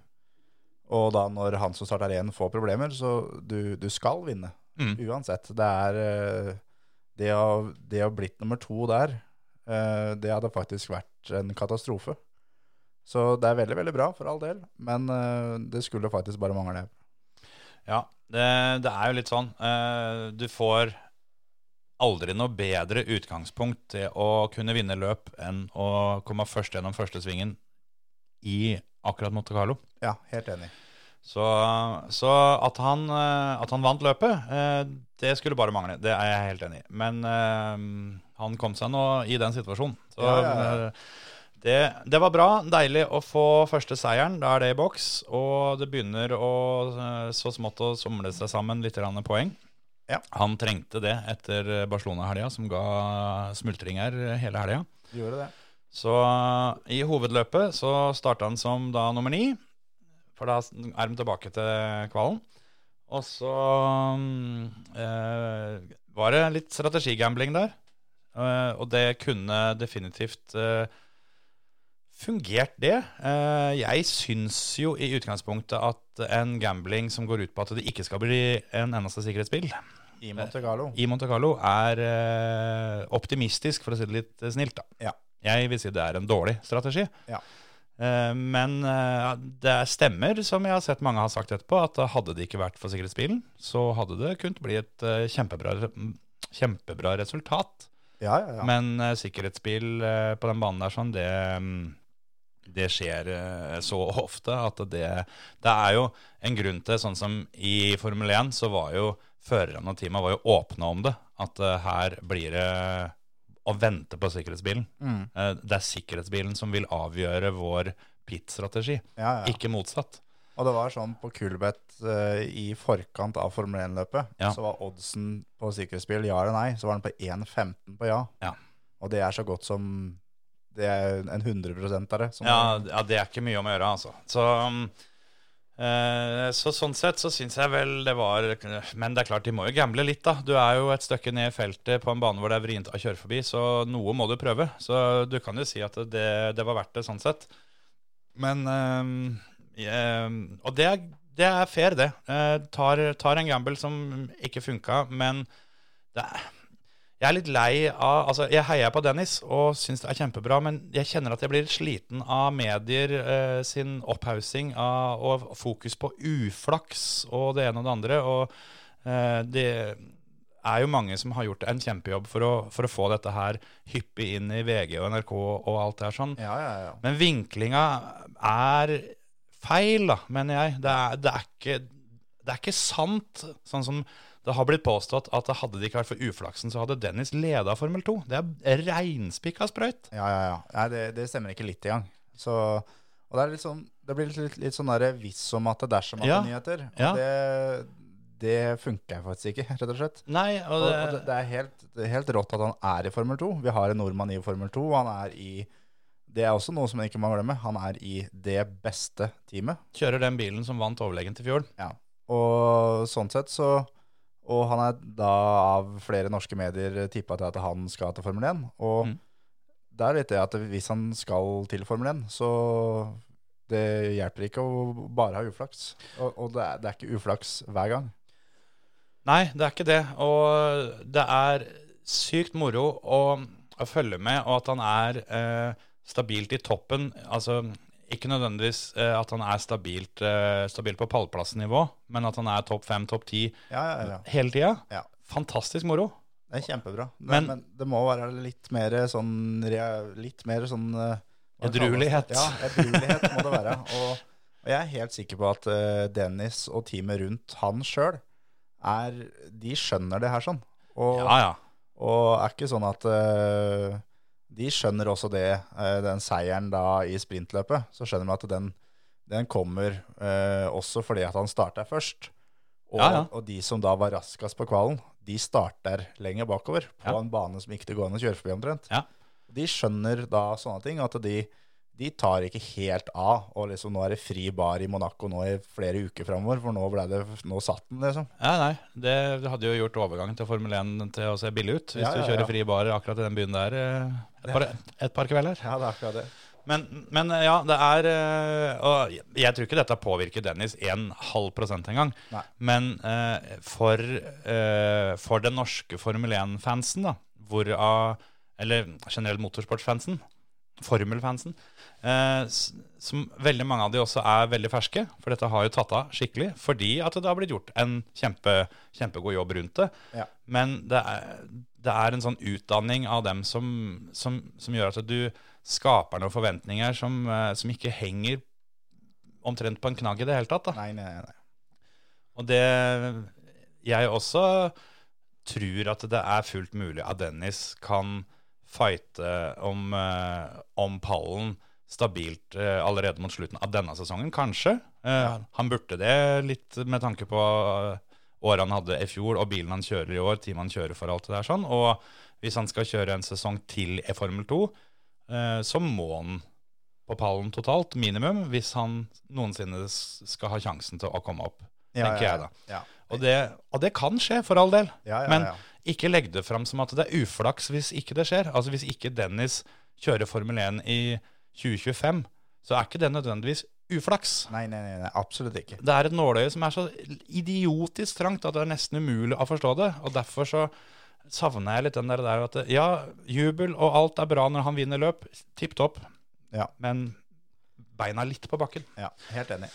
Og da når han som starter én, får problemer, så du, du skal vinne.
Mm.
Uansett. Det er eh, Det å, det å blitt nummer to der, eh, det hadde faktisk vært en katastrofe. Så det er veldig, veldig bra, for all del, men eh, det skulle faktisk bare mangle.
Ja, det, det er jo litt sånn. eh, Du får aldri noe bedre utgangspunkt til å kunne vinne løp enn å komme først gjennom første svingen i akkurat Monte Carlo.
Ja, helt enig.
Så, så at, han, eh, at han vant løpet, eh, det skulle bare mangle. Det er jeg helt enig i. Men eh, han kom seg nå i den situasjonen. Så
Ja, ja, ja.
eh, Det, det var bra. Deilig å få første seieren. Da er det i boks. Og det begynner å eh, så smått å somle seg sammen litt grann poeng.
Ja.
Han trengte det etter Barcelona-helga, som ga smultringer hele helga.
Du gjorde det.
Så i hovedløpet så starta han som da nummer ni, for da er de tilbake til kvalen. Og så mm, eh, var det litt strategigambling der, eh, og det kunne definitivt eh, fungert, det. Eh, jeg syns jo i utgangspunktet at en gambling som går ut på at det ikke skal bli en eneste sikkerhetsbil,
I Monte Carlo.
i Monte Carlo er eh, optimistisk, for å si det litt eh, snilt. da.
Ja.
Jeg vil si det er en dårlig strategi.
Ja.
Eh, men eh, det stemmer, som jeg har sett mange har sagt etterpå, at hadde det ikke vært for sikkerhetsbilen, så hadde det kunnet bli et eh, kjempebra, kjempebra resultat.
Ja, ja, ja.
Men eh, sikkerhetsbil eh, på den banen der sånn, det, mm, det skjer eh, så ofte at det Det er jo en grunn til, sånn som i Formel 1, så var jo førerne og teamet var jo åpne om det. At eh, her blir det å vente på sikkerhetsbilen.
Mm.
Eh, det er sikkerhetsbilen som vil avgjøre vår pit-strategi,
ja, ja.
ikke motsatt.
Og det var sånn på Kulbeth eh, i forkant av Formel 1-løpet,
Ja.
så var oddsen på sikkerhetsbil ja eller nei, så var den på 1,15 på ja.
Ja.
Og det er så godt som Det er en 100 av det. Som
Ja, d- ja, det er ikke mye om å gjøre, altså. Så, um, eh, så sånn sett så syns jeg vel det var Men det er klart, de må jo gamble litt, da. Du er jo et stykke ned i feltet på en bane hvor det er vrient å kjøre forbi, så noe må du prøve. Så du kan jo si at det, det var verdt det, sånn sett. Men um, jeg- Og det er, det er fair, det. Eh, tar, tar en gamble som ikke funka, men det er jeg er litt lei av Altså, jeg heier på Dennis og syns det er kjempebra, men jeg kjenner at jeg blir sliten av medier eh, sin opphaussing av og fokus på uflaks og det ene og det andre. Og eh, det er jo mange som har gjort en kjempejobb for å, for å få dette her hyppig inn i VG og NRK og alt det her sånn.
ja, ja, ja.
Men vinklinga er feil, da, mener jeg. Det er, det, er ikke, det er ikke sant, sånn som det har blitt påstått, at det hadde det ikke vært for uflaksen, så hadde Dennis leda Formel 2. Det er reinspikka sprøyt.
Ja, ja, ja. Nei, det, det stemmer ikke litt engang. Så, og det, er litt sånn, det blir litt, litt, litt sånn der hvis om at det er dersom at det
Ja.
er nyheter. Og
Ja.
Det, det funker faktisk ikke, rett og slett.
Nei, og
Og,
det,
og det, det, er helt, det er helt rått at han er i Formel 2. Vi har en nordmann i Formel 2. og Han er i Det er også noe som man ikke må glemme. Han er i det beste teamet.
kjører den bilen som vant overlegent i fjor.
Ja. Og sånn sett så Og han er da av flere norske medier tippa til at han skal til Formel 1. Og
Mm.
det er litt det at hvis han skal til Formel 1, så Det hjelper ikke å bare ha uflaks. Og, og det, er, det er ikke uflaks hver gang.
Nei, det er ikke det. Og det er sykt moro å, å følge med, og at han er eh, stabilt i toppen. Altså ikke nødvendigvis eh, at han er stabilt, eh, stabilt på pallplassnivå, men at han er topp fem, topp ti
Ja, ja, ja.
hele tida.
Ja.
Fantastisk moro.
Det er kjempebra. Men,
Men-
men det må være litt mer sånn, rea- litt mer sånn eh, hva
Edruelighet.
kalles det? Ja, edruelighet må det være. Og, og jeg er helt sikker på at eh, Dennis og teamet rundt han sjøl, de skjønner det her sånn. Og,
Ja, ja.
og er ikke sånn at eh, de skjønner også det, eh, den seieren da i sprintløpet. Så skjønner de at den, den kommer eh, også fordi at han starter først. Og,
Ja, ja.
og de som da var raskest på kvalen, de starter lenger bakover på
Ja.
en bane som ikke det går an å kjøre forbi omtrent.
Ja.
De skjønner da sånne ting, at de, de tar ikke helt av. Og liksom nå er det fri bar i Monaco nå i flere uker framover, for nå, ble det, nå satt den, liksom.
Ja, nei, det hadde jo gjort overgangen til Formel 1 til å se billig ut, hvis
Ja, ja,
du kjører
ja.
fri bar akkurat i den byen der eh, et par, et par kvelder.
Ja, det er akkurat det.
Men, men ja, det er eh, Og jeg- jeg tror ikke dette påvirker Dennis 1,5 engang.
Nei.
Men eh, for, eh, for den norske Formel 1-fansen, da, hvorav Eller generelt motorsportfansen. Formelfansen. eh, s- som veldig mange av de også er veldig ferske. For dette har jo tatt av skikkelig. Fordi at det har blitt gjort en kjempe, kjempegod jobb rundt det.
Ja.
Men det er, det er en sånn utdanning av dem som, som, som gjør at du skaper noen forventninger som, eh, som ikke henger omtrent på en knagg i det hele tatt. Da.
Nei, nei, nei.
Og det Jeg også tror at det er fullt mulig at Dennis kan fighte om, eh, om pallen stabilt eh, allerede mot slutten av denne sesongen, kanskje. Eh, Han burde det litt med tanke på eh, året han hadde i fjor, og bilen han kjører i år, teamet han kjører for alt det der sånn. Og hvis han skal kjøre en sesong til i Formel 2, eh, så må han på pallen totalt, minimum, hvis han noensinne s- skal ha sjansen til å komme opp tenker jeg da.
Ja.
Og det, og det kan skje, for all del.
Ja, ja,
Men
ja.
ikke legg det fram som at det er uflaks hvis ikke det skjer. Altså Hvis ikke Dennis kjører Formel 1 i 2025, så er ikke det nødvendigvis uflaks.
Nei, nei, nei, nei, absolutt ikke.
Det er et nåløye som er så idiotisk trangt at det er nesten umulig å forstå det. Og derfor så savner jeg litt den der, der at det- ja, jubel og alt er bra når han vinner løp. Tipp topp.
Ja.
Men beina litt på bakken.
Ja, Helt enig.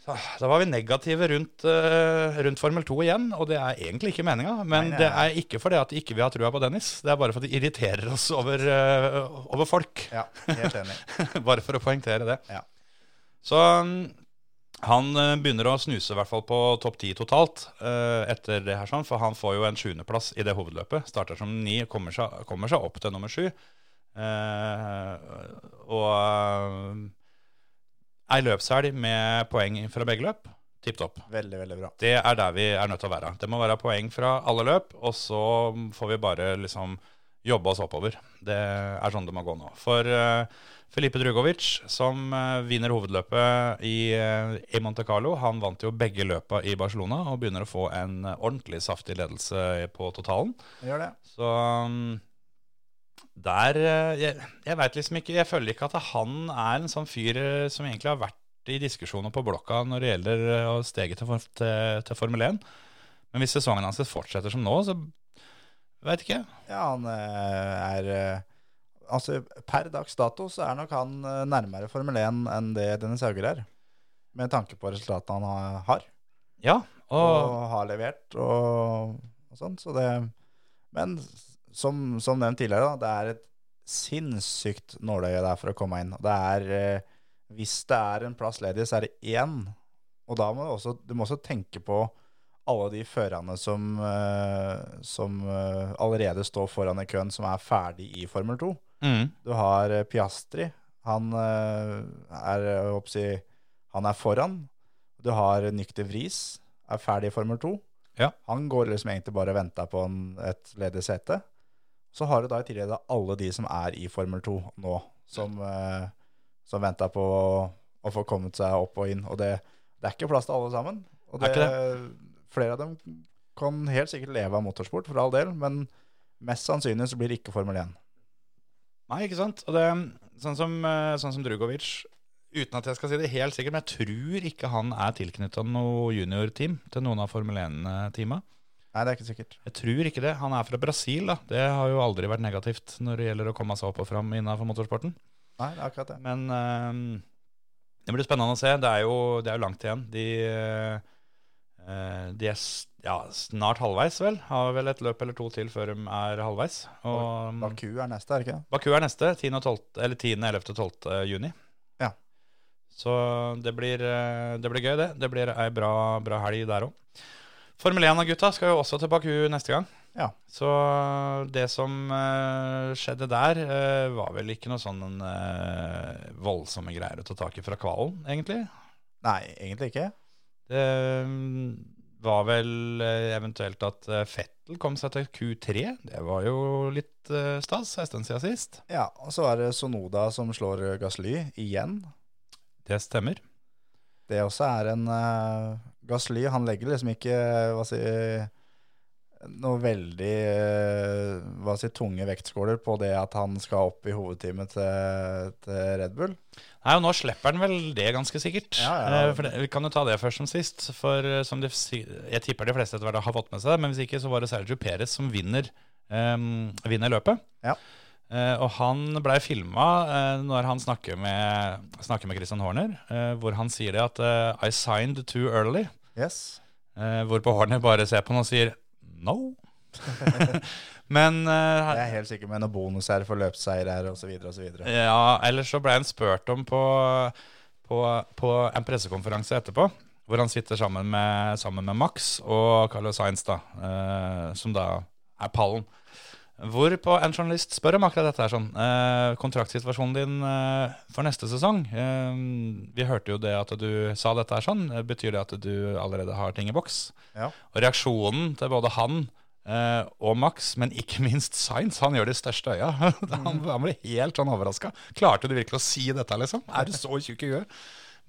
Så, Da var vi negative rundt, eh, rundt Formel 2 igjen, og det er egentlig ikke meninga. Men
Nei, nei,
det
nei.
er ikke fordi at ikke vi har trua på Dennis, det er bare fordi det irriterer oss over, eh, over folk.
Ja, helt enig.
bare for å poengtere det.
Ja.
Så mm, han eh, begynner å snuse i hvert fall på topp ti totalt eh, etter det her, sånn, for han får jo en sjuendeplass i det hovedløpet. Starter som ni, kommer seg, kommer seg opp til nummer sju. Eh, og eh, ei løpshelg med poeng fra begge løp. Tipp topp.
Veldig, veldig bra.
Det er der vi er nødt til å være. Det må være poeng fra alle løp, og så får vi bare liksom jobbe oss oppover. Det er sånn det må gå nå. For eh, Felipe Drugovic, som eh, vinner hovedløpet i, eh, i Monte Carlo, han vant jo begge løpa i Barcelona og begynner å få en eh, ordentlig saftig ledelse på totalen.
Gjør det.
Så um, der eh, Jeg, jeg veit liksom ikke Jeg føler ikke at han er en sånn fyr eh, som egentlig har vært i diskusjoner på blokka når det gjelder eh, å stege til, for- til, til Formel 1. Men hvis sesongen hans fortsetter som nå, så veit ikke.
Ja, han eh, er eh, Altså, per dags dato så er nok han eh, nærmere Formel 1 enn det Dennis Hauger er. Med tanke på resultatene han ha- har,
Ja, og,
og har levert og, og sånn. Så det Men s- som, som nevnt tidligere, da, det er et sinnssykt nåløye der for å komme inn. Og det er eh, Hvis det er en plass ledig, så er det én. Og da må du også, du må også tenke på alle de førerne som, eh, som eh, allerede står foran i køen, som er ferdig i Formel 2.
mm,
Du har eh, Piastri. Han eh, er eh, hva skal jeg si, Han er foran. Du har Nyk de Vries. Er ferdig i Formel 2.
Ja.
Han går liksom egentlig bare og venter på en, et ledig sete. Så har du da i tillegg da alle de som er i Formel 2 nå, som, eh, som venter på å, å få kommet seg opp og inn. Og det, det er ikke plass til alle sammen. Og
Er
det,
ikke
Flere av dem kan helt sikkert leve av motorsport, for all del, men mest sannsynlig så blir det ikke Formel 1.
Nei, ikke sant? Og det, sånn, som, eh, sånn som Drugovic uten at jeg skal si det helt sikkert, men jeg tror ikke han er tilknytta noe juniorteam til noen av Formel 1-teama.
Nei, det er ikke sikkert.
Jeg tror ikke det. Han er fra Brasil, da. Det har jo aldri vært negativt når det gjelder å komme seg opp og fram innafor motorsporten.
Nei, det er akkurat det.
Men eh, det blir spennende å se. Det er jo, det er jo langt igjen. De, eh, de er s- ja, snart halvveis, vel. Har vel et løp eller to til før de er halvveis. Og,
Baku er neste, er det ikke det?
Baku er neste, 10. og 12, eller 10. 11. og 12. juni.
Ja.
Så det blir, eh, det blir gøy, det. Det blir ei bra, bra helg der òg. Formel 1-gutta skal jo også til Baku neste gang.
Ja.
Så det som eh, skjedde der, eh, var vel ikke noe sånn eh, voldsomme greier å ta tak i fra kvalen, egentlig.
Nei, egentlig ikke.
Det mm, var vel eh, eventuelt at eh, Fettel kom seg til Q3. Det var jo litt eh, stas, en stund siden sist.
Ja, og så er det Sonoda som slår Gasly igjen.
Det stemmer.
Det også er en eh, Gasly, han legger liksom ikke hva si, noe veldig eh, hva si, tunge vektskåler på det at han skal opp i hovedteamet til, til Red Bull.
Nei, og nå slipper han vel det ganske sikkert.
Ja, ja.
Eh, For det, vi kan jo ta det først som sist. For eh, som de, si- jeg tipper de fleste etter hvert har fått med seg det, men hvis ikke så var det Sergio Perez som vinner, ehm, vinner løpet.
Ja.
Eh, og han blei filma eh, når han snakker med, snakker med Christian Horner, eh, hvor han sier det at eh, I signed too early.
Yes.
Eh, hvorpå Horner bare ser på han og sier no. men eh,
Jeg er helt sikker med noen bonus her for løpsseier her osv. osv.
Ja, eller så ble han spurt om på, på, på en pressekonferanse etterpå, hvor han sitter sammen med, sammen med Max og Carlos Sainz, da, eh, som da er pallen. Hvorpå en journalist spør om akkurat dette her sånn. Eh, kontraktsituasjonen din eh, for neste sesong. Eh, vi hørte jo det at du sa dette her sånn. Eh, Betyr det at du allerede har ting i boks?
Ja.
Og reaksjonen til både han eh, og Max, men ikke minst Sainz, han gjør det i største øya. han, han ble helt sånn overraska. Klarte du virkelig å si dette, liksom? Er du så tjukk i huet?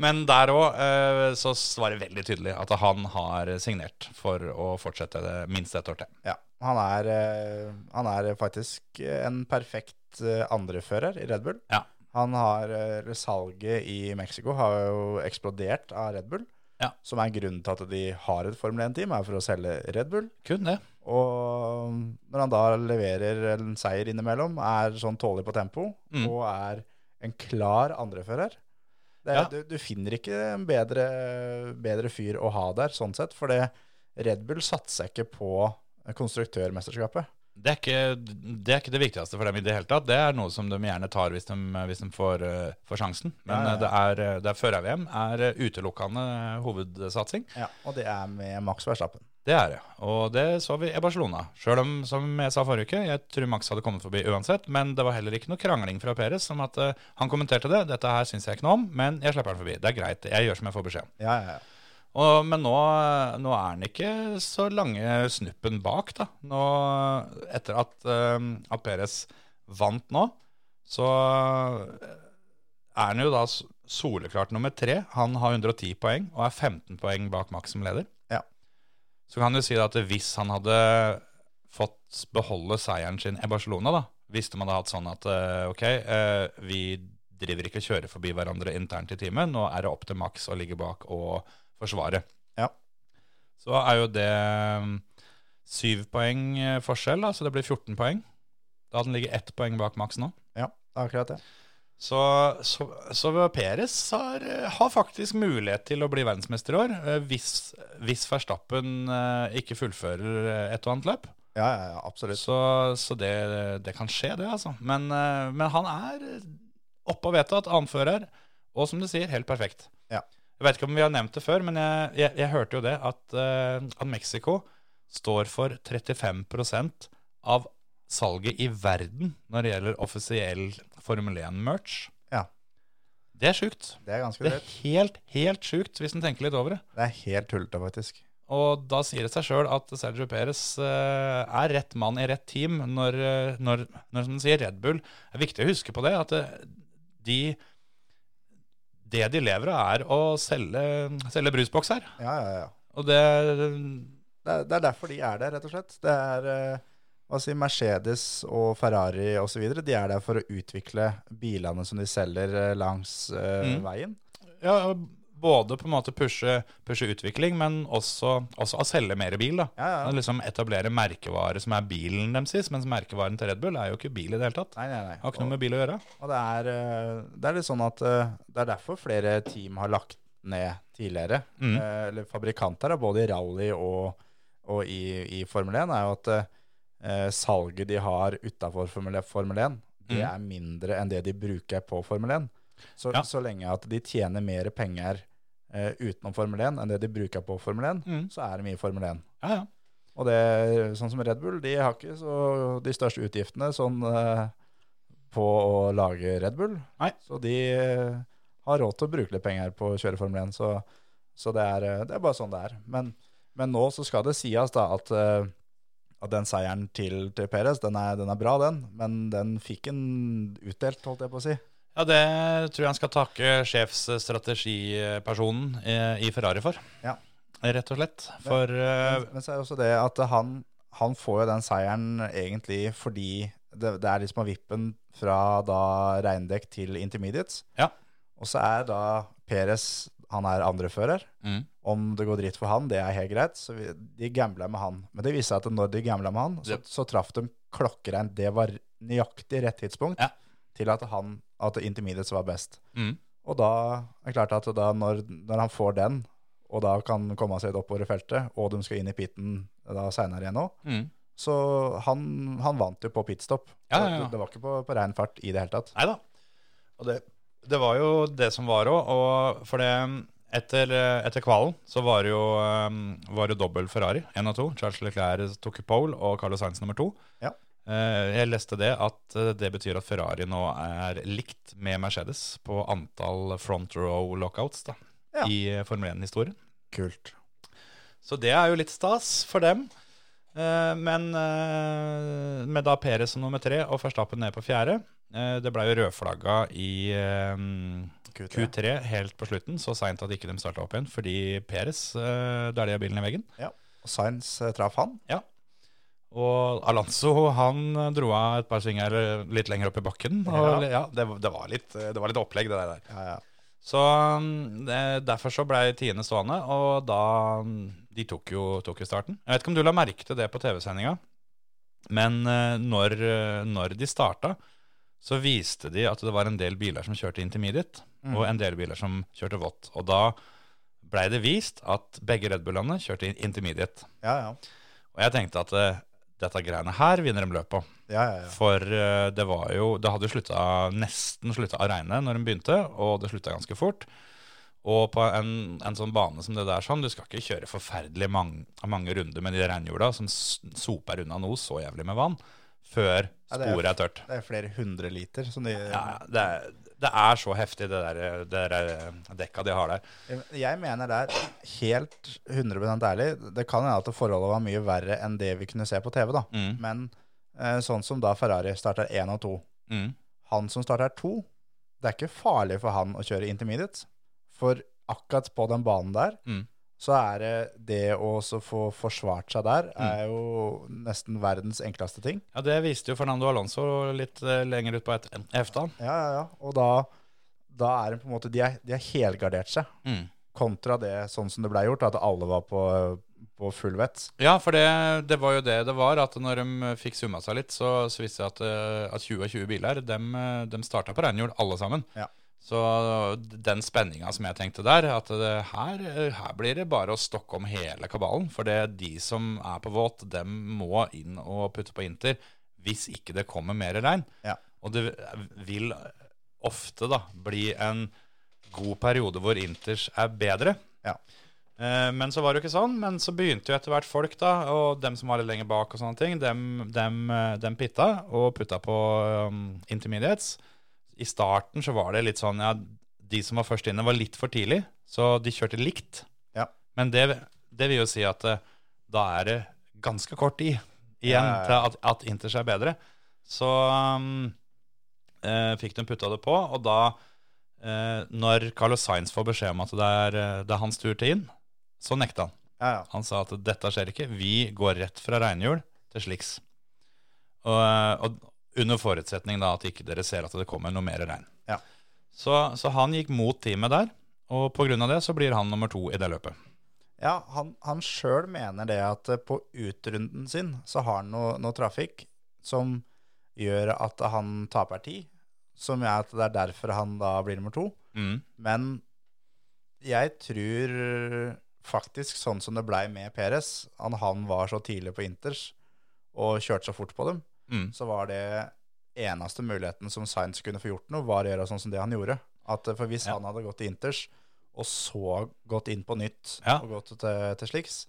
Men der òg eh, så var det veldig tydelig at han har signert for å fortsette det minst ett år til.
Ja, han er, eh, han er faktisk en perfekt eh, andrefører i Red Bull.
Ja.
Han har, eh, eller Salget i Mexico har jo eksplodert av Red Bull,
Ja.
som er grunnen til at de har et Formel 1-team, er for å selge Red Bull.
Kun det.
Og um, når han da leverer en seier innimellom, er sånn tålig på tempo,
Mm.
og er en klar andrefører det,
Ja.
du, du finner ikke en bedre, bedre fyr å ha der, sånn sett. For det, Red Bull satser ikke på konstruktørmesterskapet.
Det er, ikke, det er ikke det viktigste for dem i det hele tatt. Det er noe som de gjerne tar hvis de, hvis de får, eh, får sjansen. Men
Ja, ja,
eh, det er, eh, det er før-VM er eh, utelukkende hovedsatsing.
Ja, og det er med Max Verstappen.
Det er det, og det så vi i Barcelona. Sjøl om, som jeg sa forrige uke, jeg tror Max hadde kommet forbi uansett, men det var heller ikke noe krangling fra Peres om at eh, han kommenterte det. 'Dette her syns jeg ikke noe om, men jeg slipper han forbi.' Det er greit, jeg gjør som jeg får beskjed om.
Ja, ja, ja.
Og- Men nå, nå er han ikke så lange snuppen bak, da. Nå, etter at, eh, at Peres vant nå, så eh, er han jo da s- soleklart nummer tre. Han har 110 poeng og er 15 poeng bak Max som leder.
Ja.
Så kan du si da at hvis han hadde fått beholde seieren sin i Barcelona, da, hvis de hadde hatt sånn at eh, ok, eh, vi driver ikke og kjører forbi hverandre internt i teamet, nå er det opp til Max å ligge bak og forsvare.
Ja.
Så er jo det mm, syv poeng eh, forskjell, da, så det blir 14 poeng. Da hadde han ligget ett poeng bak Max nå.
ja det er akkurat det.
Så, så, så Peres har, har faktisk mulighet til å bli verdensmester i år, eh, hvis, hvis Verstappen eh, ikke fullfører eh, et og annet løp.
Ja, ja, ja absolutt.
Så, så det, det kan skje, det, altså. Men, eh, men han er oppe og vedtatt annenfører, og som du sier, helt perfekt.
Ja.
Jeg vet ikke om vi har nevnt det før, men jeg, jeg, jeg hørte jo det at, eh, at Mexico står for 35 av salget i verden når det gjelder offisiell Formel 1-merch.
Ja.
Det er sjukt.
Det er ganske
Det er
drøyt.
helt, helt sjukt, hvis en tenker litt over det.
Det er helt tullete, faktisk.
Og da sier det seg sjøl at Sergio Perez eh, er rett mann i rett team når, eh, når, når som du sier, Red Bull Det er viktig å huske på det, at eh, de Det de lever av, er å selge, selge brusbokser.
Ja, ja, ja.
Og det
Det er, det er derfor de er der, rett og slett. Det er eh, Altså Mercedes og Ferrari osv. De er der for å utvikle bilene som de selger eh, langs eh,
Mm.
veien.
Ja, både på en måte pushe, pushe utvikling, men også, også å selge mer bil. da.
Ja, ja.
Liksom Etablere merkevare som er bilen deres, sist, mens merkevaren til Red Bull er jo ikke bil i det hele tatt.
Nei, nei, nei.
Har ikke noe med bil å gjøre.
Og det er, eh, det er litt sånn at eh, det er derfor flere team har lagt ned tidligere.
Mm.
Eh, Eller fabrikanter, da, både i rally og, og i, i Formel 1, er jo at eh, salget de har utafor Formel, Formel 1, det
Mm.
er mindre enn det de bruker på Formel 1. Så,
Ja.
så lenge at de tjener mer penger eh, utenom Formel 1 enn det de bruker på Formel 1,
Mm.
så er de i Formel 1.
Ja, ja.
Og det, sånn som Red Bull, de har ikke så de største utgiftene sånn eh, på å lage Red Bull.
Nei.
Så de eh, har råd til å bruke litt penger på å kjøre Formel 1, så, så det, er, eh, det er bare sånn det er. Men, men nå så skal det sies da at, eh, at den seieren til, til Perez, den er, den er bra den, men den fikk en utdelt, holdt jeg på å si.
Ja, Det tror jeg han skal takke sjefsstrategipersonen eh, i- i Ferrari for.
Ja.
Rett og slett. For eh,
Men, men så er det også det at han, han får jo den seieren egentlig fordi det, det er liksom av vippen fra da regndekk til intermediates.
Ja.
Og så er da Peres, han er andrefører.
mm,
Om det går dritt for han, det er helt greit. Så vi, de gambla med han. Men det viste seg at når de gambla med han, så,
Det-
så traff de klokkereint. Det var nøyaktig rett tidspunkt
Ja.
til at, han, at intermediates var best.
mm,
Og da er det klart at da når, når han får den, og da kan komme seg litt oppover i feltet, og de skal inn i piten da seinere igjen òg,
mm.
så han, han vant jo på pitstop.
Ja,
Så
ja, ja.
Det, det var ikke på, på rein fart i det hele tatt.
Nei da. Og det, det var jo det som var òg. Og for det etter, etter kvalen så var det jo, um, var det jo dobbel Ferrari. Én av to. Charles Leclerc tok pole, og Carlos Sainz nummer to.
Ja.
Eh, Jeg leste det at eh, det betyr at Ferrari nå er likt med Mercedes på antall front row lockouts da,
Ja.
i eh, Formel 1-historien.
Kult.
Så det er jo litt stas for dem. Eh, Men eh, med da Perez som nummer tre og Verstappen ned på fjerde eh, Det ble jo rødflagga i eh,
Q3.
Q3 helt på slutten, så seint at ikke de starta opp igjen, fordi Perez eh, dælja bilen i veggen.
Og Sainz eh, traff han.
Og Alonso han dro av et par svinger litt lenger opp i bakken. Og, ja. det, var- det, var litt, eh, det var litt opplegg, det der.
Ja, ja.
Så mm, det, derfor så blei tiende stående, og da mm, De tok jo, tok jo starten. Jeg vet ikke om du la merke til det på TV-sendinga, men eh, når, eh, når de starta, så viste de at det var en del biler som kjørte intermediate, og en del biler som kjørte vått. Og da blei det vist at begge Red Bullene kjørte in- intermediate.
Ja, ja.
Og jeg tenkte at eh, dette greiene her vinner de løpet på.
ja, ja, ja.
For eh, det var jo Det hadde slutta, nesten slutta å regne når den begynte, og det slutta ganske fort. Og på en, en sånn bane som det der sånn, du skal ikke kjøre forferdelig mange, mange runder med de regnhjula som s- soper unna noe så jævlig med vann, før
Ja, det er-
sporet er tørt.
Det er flere hundre liter som de
Ja, det, er- det er så heftig, det der, det der eh, dekka de har der.
Jeg mener det er helt 100 ærlig. Det kan hende at forholdet var mye verre enn det vi kunne se på TV. da.
Mm.
Men eh, sånn som da Ferrari starter én og to.
Mm.
Han som starter to, det er ikke farlig for han å kjøre intermediate. For akkurat på den banen der,
Mm.
så er det det å også få forsvart seg der, er jo nesten verdens enkleste ting.
Ja, Det viste jo Fernando Alonso litt eh, lenger ut på et, hefta.
Ja, ja, ja. Og da, da er det på en måte De er- de har helgardert seg.
Mm.
kontra det sånn som det ble gjort, at alle var på, på full vett.
Ja, for det, det var jo det det var, at når de eh, fikk summa seg litt, så, så viste det seg at, eh, at 20 av 20 biler, de, de starta på regnhjul, alle sammen.
Ja.
Så den spenninga som jeg tenkte der, at det, her, eh, her blir det bare å stokke om hele kabalen. For det er de som er på våt, dem må inn og putte på inter hvis ikke det kommer mer regn.
Ja.
Og det vil ofte da bli en god periode hvor inters er bedre.
Ja.
Eh, Men så var det jo ikke sånn, men så begynte jo etter hvert folk da, og dem som var litt lenger bak og sånne ting, dem, dem, eh, dem pitta og putta på um, intermediates. I starten så var det litt sånn, ja, de som var først inne var litt for tidlig, så de kjørte likt.
Ja.
Men det, det vil jo si at eh, da er det ganske kort tid
Ja,
igjen
ja, ja.
til at, at Inters er bedre. Så um, eh, fikk de putta det på, og da eh, når Carlos Sainz får beskjed om at det er, eh, det er hans tur til inn, så nekta han.
Ja, ja.
Han sa at dette skjer ikke, vi går rett fra regnhjul til sliks. Og, eh, og under forutsetning da at ikke dere ser at det kommer noe mer regn.
Ja.
Så, så han gikk mot teamet der, og pga. det så blir han nummer to i det løpet.
Ja, han, han sjøl mener det at eh, på utrunden sin så har han noe, noe trafikk som gjør at han taper tid, som gjør at det er derfor han da blir nummer to.
Mm.
Men jeg tror faktisk sånn som det blei med Peres, han, han var så tidlig på Inters og kjørte så fort på dem,
Mm.
så var det eneste muligheten som Sainz kunne få gjort noe, var å gjøre sånn som det han gjorde. At, eh, for hvis han hadde gått til Inters, og så gått inn på nytt
Ja.
og gått til, til sliks,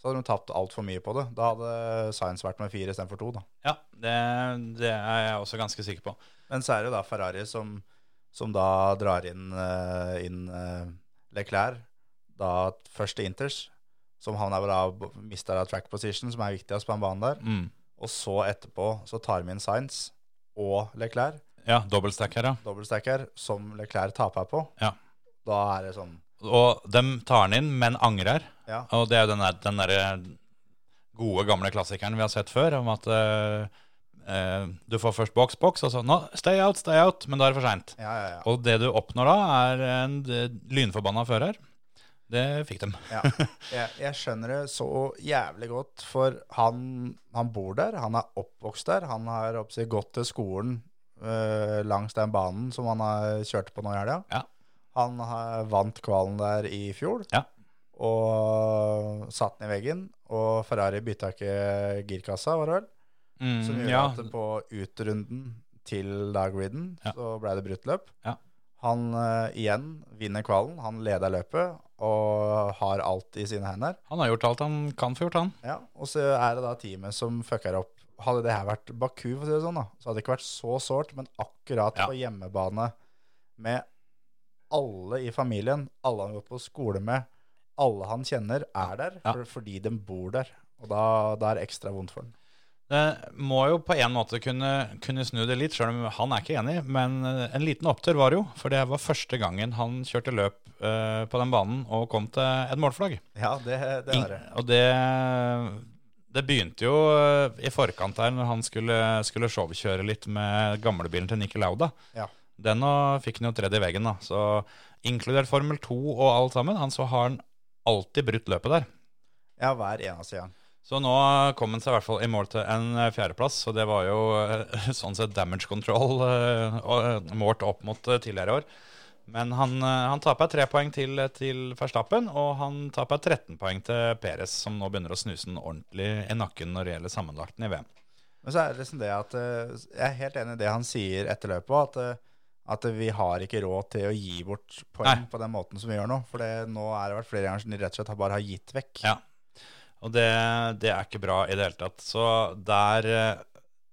så hadde de tapt altfor mye på det. Da hadde Sainz vært med fire istedenfor to. da.
Ja, det, det er jeg også ganske sikker på.
Men så er det jo da Ferrari som, som da drar inn, eh, inn eh, Leclerc, da først til Inters, som han er da b- mister da track position, som er viktigst på den banen der.
Mm.
Og så etterpå så tar vi inn Sainz og Leclerc,
Ja, dobbeltstack her, ja.
dobbeltstacker, som Leclerc taper på.
Ja.
Da er det sånn
Og dem tar han inn, men angrer.
Ja.
Og det er jo den der, den der gode, gamle klassikeren vi har sett før, om at eh, eh, du får først boks, boks, og så nå, stay out, stay out, men da er det for seint.
Ja, ja, ja.
Og det du oppnår da, er en d- lynforbanna fører. Det fikk de.
ja. Jeg, jeg skjønner det så jævlig godt, for han, han bor der, han er oppvokst der, han har oppsi, gått til skolen øh, langs den banen som han har kjørt på nå i helga.
Ja.
Han har vant kvalen der i fjor,
Ja.
og satt den i veggen, og Ferrari bytta ikke girkassa, var det vel?
Mm,
Som gjør
ja,
at på utrunden til da griden
Ja.
så ble det brutt løp.
Ja.
Han eh, igjen vinner kvalen, han leder løpet og har alt i sine hender.
han har gjort alt han kan få gjort, han.
Ja, og så er det da teamet som fucker opp. Hadde det her vært Baku, for å si det sånn, da, så hadde det ikke vært så sårt, men akkurat
Ja.
på hjemmebane med alle i familien, alle han har gått på skole med, alle han kjenner, er der
Ja.
for, fordi de bor der. Og da, da er det ekstra vondt for ham.
Det Eh, må jo på en måte kunne, kunne snu det litt, sjøl om han er ikke enig. Men eh, en liten opptur var det jo, for det var første gangen han kjørte løp eh, på den banen og kom til et målflagg.
Ja, det, det er det.
Ing- Og det, det begynte jo eh, i forkant der når han skulle, skulle showkjøre litt med gamlebilen til Niki Lauda.
Ja.
Den og fikk han jo tredd i veggen, da. Så inkludert Formel 2 og alt sammen, han så har han alltid brutt løpet der.
Ja, hver eneste gang.
Så nå kom han seg i hvert fall i mål til en eh, fjerdeplass, så det var jo eh, sånn sett damage control eh, og, eh, målt opp mot eh, tidligere år. Men han, eh, han taper tre poeng til, eh, til Verstappen, og han taper 13 poeng til Perez, som nå begynner å snuse den ordentlig i nakken når det gjelder sammenlagten i VM.
Men så er det liksom det at eh, Jeg er helt enig i det han sier etter løpet, at, eh, at vi har ikke råd til å gi bort poeng
Nei.
på den måten som vi gjør nå. For det, nå er det vært flere ganger som de rett og slett har- bare har gitt vekk.
Ja. Og det, det er ikke bra i det hele tatt. Så der, eh,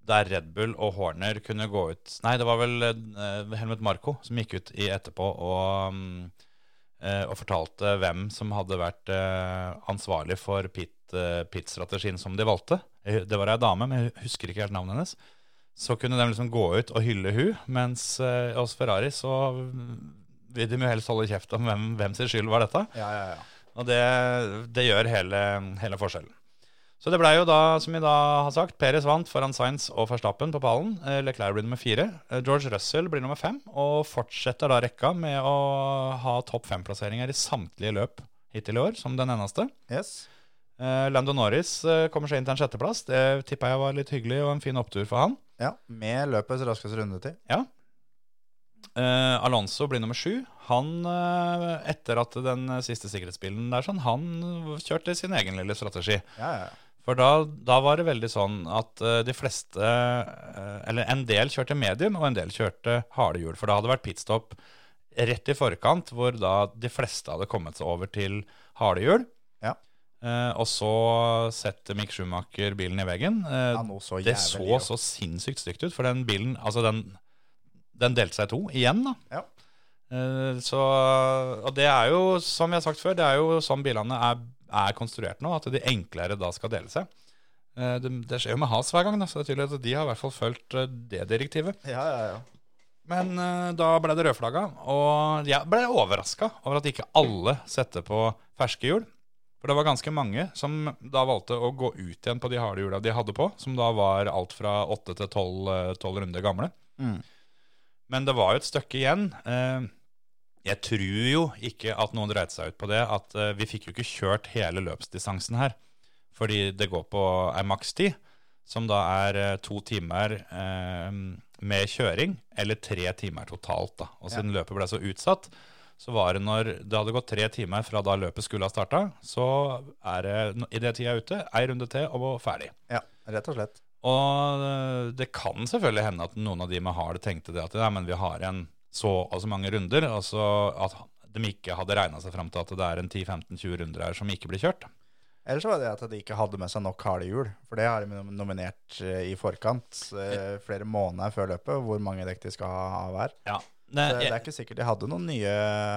der Red Bull og Horner kunne gå ut Nei, det var vel eh, Helmut Marko som gikk ut i etterpå og, mm, eh, og fortalte hvem som hadde vært eh, ansvarlig for pit- eh, pit-strategien som de valgte. Eh, Det var ei dame, men jeg husker ikke helt navnet hennes. Så kunne de liksom gå ut og hylle hun, mens eh, hos Ferrari så mm, vil de jo helst holde kjeft om hvem, hvem sin skyld var dette.
Ja, ja, ja.
Og det, det gjør hele, hele forskjellen. Så det blei jo da, som vi da har sagt, Perez vant foran Sainz og Verstappen på pallen. Eh, Leclerc blir nummer fire. Eh, George Russell blir nummer fem, og fortsetter da rekka med å ha topp fem-plasseringer i samtlige løp hittil i år, som den eneste.
Yes.
Eh, Lando Norris eh, kommer seg inn til en sjetteplass. Det tippa jeg var litt hyggelig og en fin opptur for han.
Ja, Med løpets raskeste rundetid.
Eh, Alonso blir nummer sju. Han, eh, etter at den siste sikkerhetsbilen der, sånn, han kjørte sin egen lille strategi.
Ja, ja, ja.
For da, da var det veldig sånn at eh, de fleste, eh, eller en del kjørte medium, og en del kjørte harde hjul. For da hadde det vært pitstop rett i forkant, hvor da de fleste hadde kommet seg over til harde hjul.
Ja.
Eh, og så setter Mick Schumacher bilen i veggen. Eh,
Ja, noe så
det
jævlig,
så
ja.
så sinnssykt stygt ut, for den bilen, altså den, den delte seg i to igjen, da.
Ja.
Eh, Så, og det er jo, som vi har sagt før, det er jo sånn bilene er, er konstruert nå, at de enklere da skal dele seg. Eh, Det, det skjer jo med Has hver gang, da, så det er tydelig at de har i hvert fall fulgt eh, det direktivet.
Ja, ja, ja.
Men eh, da ble det rødflagga, og jeg ble overraska over at ikke alle setter på ferske hjul. For det var ganske mange som da valgte å gå ut igjen på de harde hjula de hadde på, som da var alt fra åtte til tolv eh, tolv runder gamle.
Mm.
Men det var jo et stykke igjen. Eh, Jeg tror jo ikke at noen dreit seg ut på det, at eh, vi fikk jo ikke kjørt hele løpsdistansen her. Fordi det går på eh, ei makstid, som da er eh, to timer eh, med kjøring, eller tre timer totalt. da. Og siden løpet ble så utsatt, så var det når det hadde gått tre timer fra da løpet skulle ha starta, så er det n- i det tida er ute, ei runde til og ferdig.
Ja, rett og slett.
Og eh, det kan selvfølgelig hende at noen av de med hard tenkte det at nei, men vi har igjen så og så mange runder, og så at de ikke hadde regna seg fram til at det er en 10-15-20 runder her som ikke blir kjørt.
Ellers var det at de ikke hadde med seg nok harde hjul, for det har de nom- nominert eh, i forkant, eh, flere måneder før løpet, hvor mange dekk de skal ha av hver.
Ja.
Så Det er ikke sikkert de hadde noen nye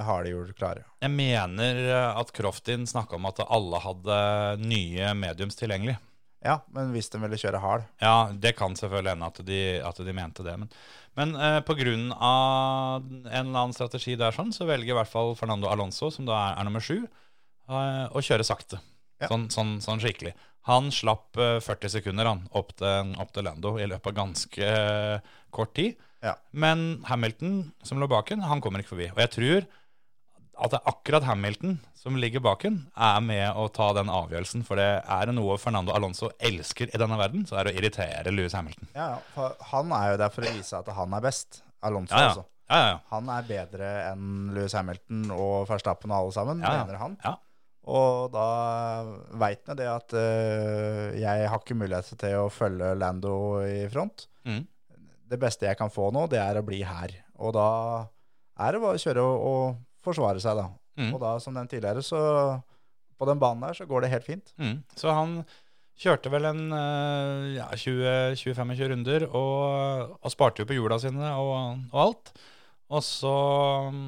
harde hjul klare.
Jeg mener eh, at Croftin snakka om at alle hadde nye mediums tilgjengelig.
Ja, men hvis de ville kjøre hard
Ja, det kan selvfølgelig hende at de, at de mente det. Men, men eh, på grunn av en eller annen strategi der sånn, så velger i hvert fall Fernando Alonso, som da er, er nummer sju, eh, å kjøre sakte.
Ja.
Sånn, sånn, sånn skikkelig. Han slapp eh, 40 sekunder han, opp, til, opp til Lando i løpet av ganske eh, kort tid.
Ja.
Men Hamilton, som lå baken, han kommer ikke forbi. Og jeg tror at det er akkurat Hamilton som ligger baken, er med å ta den avgjørelsen. For det er noe Fernando Alonso elsker i denne verden, så er det å irritere Louis Hamilton.
Ja, ja, for han er jo der for å vise at han er best. Alonso,
Ja, ja.
altså.
ja, ja, ja.
Han er bedre enn Lewis Hamilton og Verstappen og alle sammen,
Ja, ja.
mener han.
ja.
Og da veit han det at eh, jeg har ikke mulighet til å følge Lando i front.
Mm.
Det beste jeg kan få nå, det er å bli her. Og da er det bare å kjøre og, og forsvare seg, da.
Mm.
Og da, som nevnt tidligere, så på den banen der så går det helt fint.
Mm. Så han kjørte vel en eh, ja, 20-25 runder og, og sparte jo på hjula sine og, og alt. Og så mm,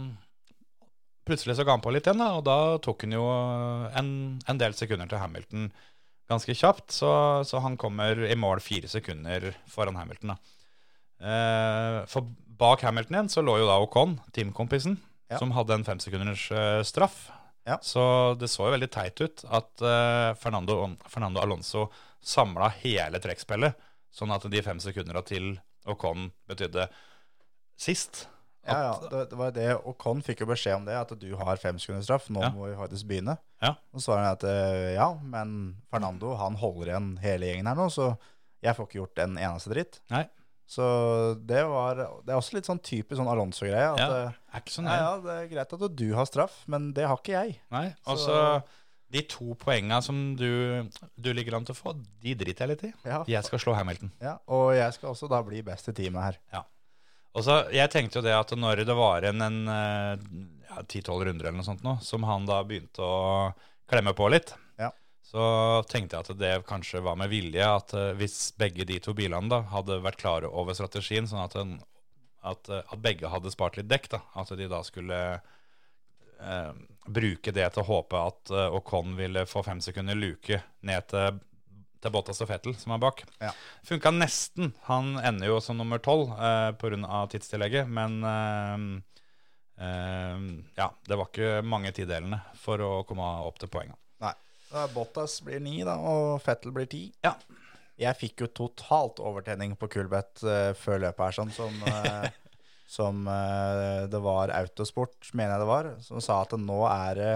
plutselig så ga han på litt igjen, da, og da tok han jo eh, en, en del sekunder til Hamilton ganske kjapt. Så, så han kommer i mål fire sekunder foran Hamilton. da. Eh, for bak Hamilton igjen så lå jo da Ocon, teamkompisen,
Ja.
som hadde en femsekunders eh, straff.
Ja.
Så det så jo veldig teit ut at eh, Fernando, Fernando Alonso samla hele trekkspillet, sånn at de fem sekundene til Ocon betydde sist.
Ja, ja, det, det var det, og Con fikk jo beskjed om det, at du har fem sekunders straff, nå
Ja.
må vi faktisk begynne.
Ja.
Og svarer han at eh, ja, men Fernando han holder igjen hele gjengen her nå, så jeg får ikke gjort en eneste dritt.
Nei.
Så det var Det er også litt sånn typisk sånn Alonso-greie. At
Ja, Sånn
eh,
er ikke så
ja,
nøye.
ja, det er greit at du har straff, men det har ikke jeg.
Nei, og
Så-
så de to poengene som du, du ligger an til å få, de driter jeg litt i.
Ja.
Jeg skal slå Hamilton.
Ja, og jeg skal også da bli best i teamet her.
Og så, Jeg tenkte jo det at når det var en, en eh, ja, 10-12 runder eller noe sånt nå, som han da begynte å klemme på litt,
Ja.
så tenkte jeg at det kanskje var med vilje at eh, hvis begge de to bilene da hadde vært klare over strategien, sånn at, en, at, eh, at begge hadde spart litt dekk, da, at de da skulle eh, bruke det til å håpe at eh, Ocon ville få fem sekunder luke ned til, til Bottas og Fettel, som er bak.
Ja.
Funka nesten. Han ender jo som nummer tolv eh, pga. tidstillegget, men eh, eh, ja, det var ikke mange tidelene for å komme opp til poengene.
Nei. Da Bottas blir ni, da, og Fettel blir ti.
Ja.
Jeg fikk jo totalt overtenning på Kulbeth eh, før løpet her, sånn som, eh, som eh, det var Autosport, mener jeg det var, som sa at nå er det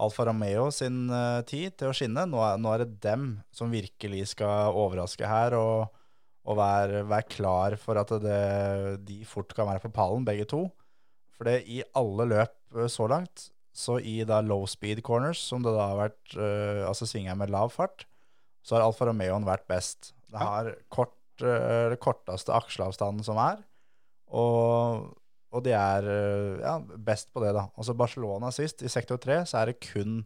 Alfa Romeo sin eh, tid til å skinne. Nå er, nå er det dem som virkelig skal overraske her, og, og være, være klar for at det, de fort kan være på pallen, begge to. For det i alle løp eh, så langt, så i da low speed corners, som det da har vært, eh, altså svinger med lav fart, så har Alfa Romeoen vært best. Det har kort, eh, det korteste aksjeavstanden som er, og, og de er eh, ja, best på det da. Altså Barcelona sist, i sektor 3, så er det kun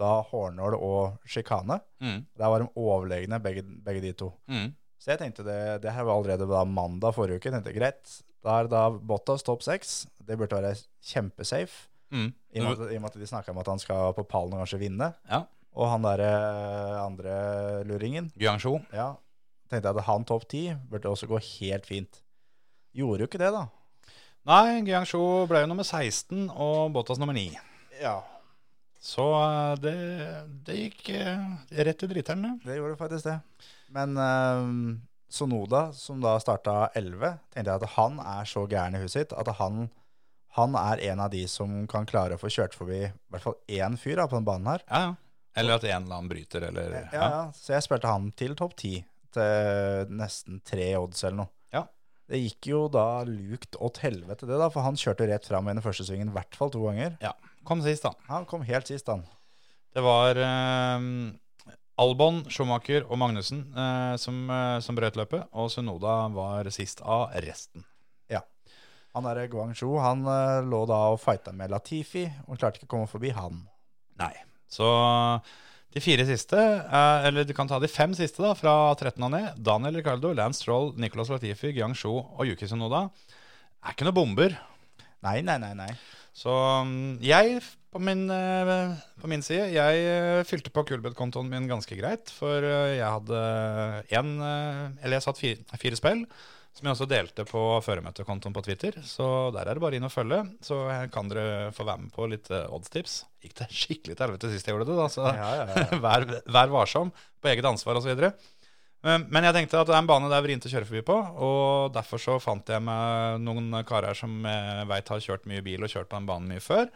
da hårnål og skikane.
Mm,
Der var de overlegne begge, begge de to. Så jeg tenkte det, det her var allerede da mandag forrige uke. Jeg tenkte greit, da er det da Bottas topp seks. Det burde være kjempesafe.
mm.
I og med at, i og med at de snakka om at han skal på pallen og kanskje vinne.
Ja.
Og han derre andre luringen,
Guangzhou.
ja, tenkte jeg at han topp ti burde også gå helt fint. Gjorde jo ikke det, da.
Nei, Guangzhou ble jo nummer 16 og Bottas nummer 9.
Ja.
Så eh, det, det gikk eh, rett til driteren, det.
Det gjorde det faktisk det. Men eh, Sonoda, som da starta 11, tenkte jeg at han er så gæren i huset sitt at han, han er en av de som kan klare å få kjørt forbi i hvert fall én fyr da, på denne banen her.
Ja, ja. Eller at en eller annen bryter, eller
Ja, ja. Så jeg spilte han til topp ti, til nesten tre odds eller noe.
Ja.
Det gikk jo da lukt åt helvete, det da, for han kjørte rett fram i den første svingen i hvert fall to ganger.
ja. Kom sist, da.
Han kom helt sist, han.
Det var eh, Albon, Schumacher og Magnussen eh, som, eh, som brøt løpet, og Sunoda var sist av resten.
Han der Guang Shu, han eh, lå da og fighta med Latifi, og klarte ikke å komme forbi han.
Nei. Så de fire siste, eh, eller du kan ta de fem siste da, fra 13 og ned, Daniel Ricardo, Lance Stroll, Nicolas Latifi, Gyang Shu og Yuki Sunoda, er ikke noen bomber.
Nei, nei, nei, nei.
Så mm, jeg, på min, eh, på min side, jeg eh, fylte på Kulbeth-kontoen min ganske greit, for eh, jeg hadde en, eh, eller jeg satt fire, fire spill, som jeg også delte på føremøtekontoen på Twitter, så der er det bare inn og følge, så kan dere få være med på litt eh, oddstips. Gikk det skikkelig til helvete sist jeg gjorde det da, så
Ja, ja, ja.
vær, vær varsom på eget ansvar osv. Ehm, Men jeg tenkte at det er en bane det er vrient å kjøre forbi på, og derfor så fant jeg meg noen karer som jeg veit har kjørt mye bil og kjørt på den banen mye før,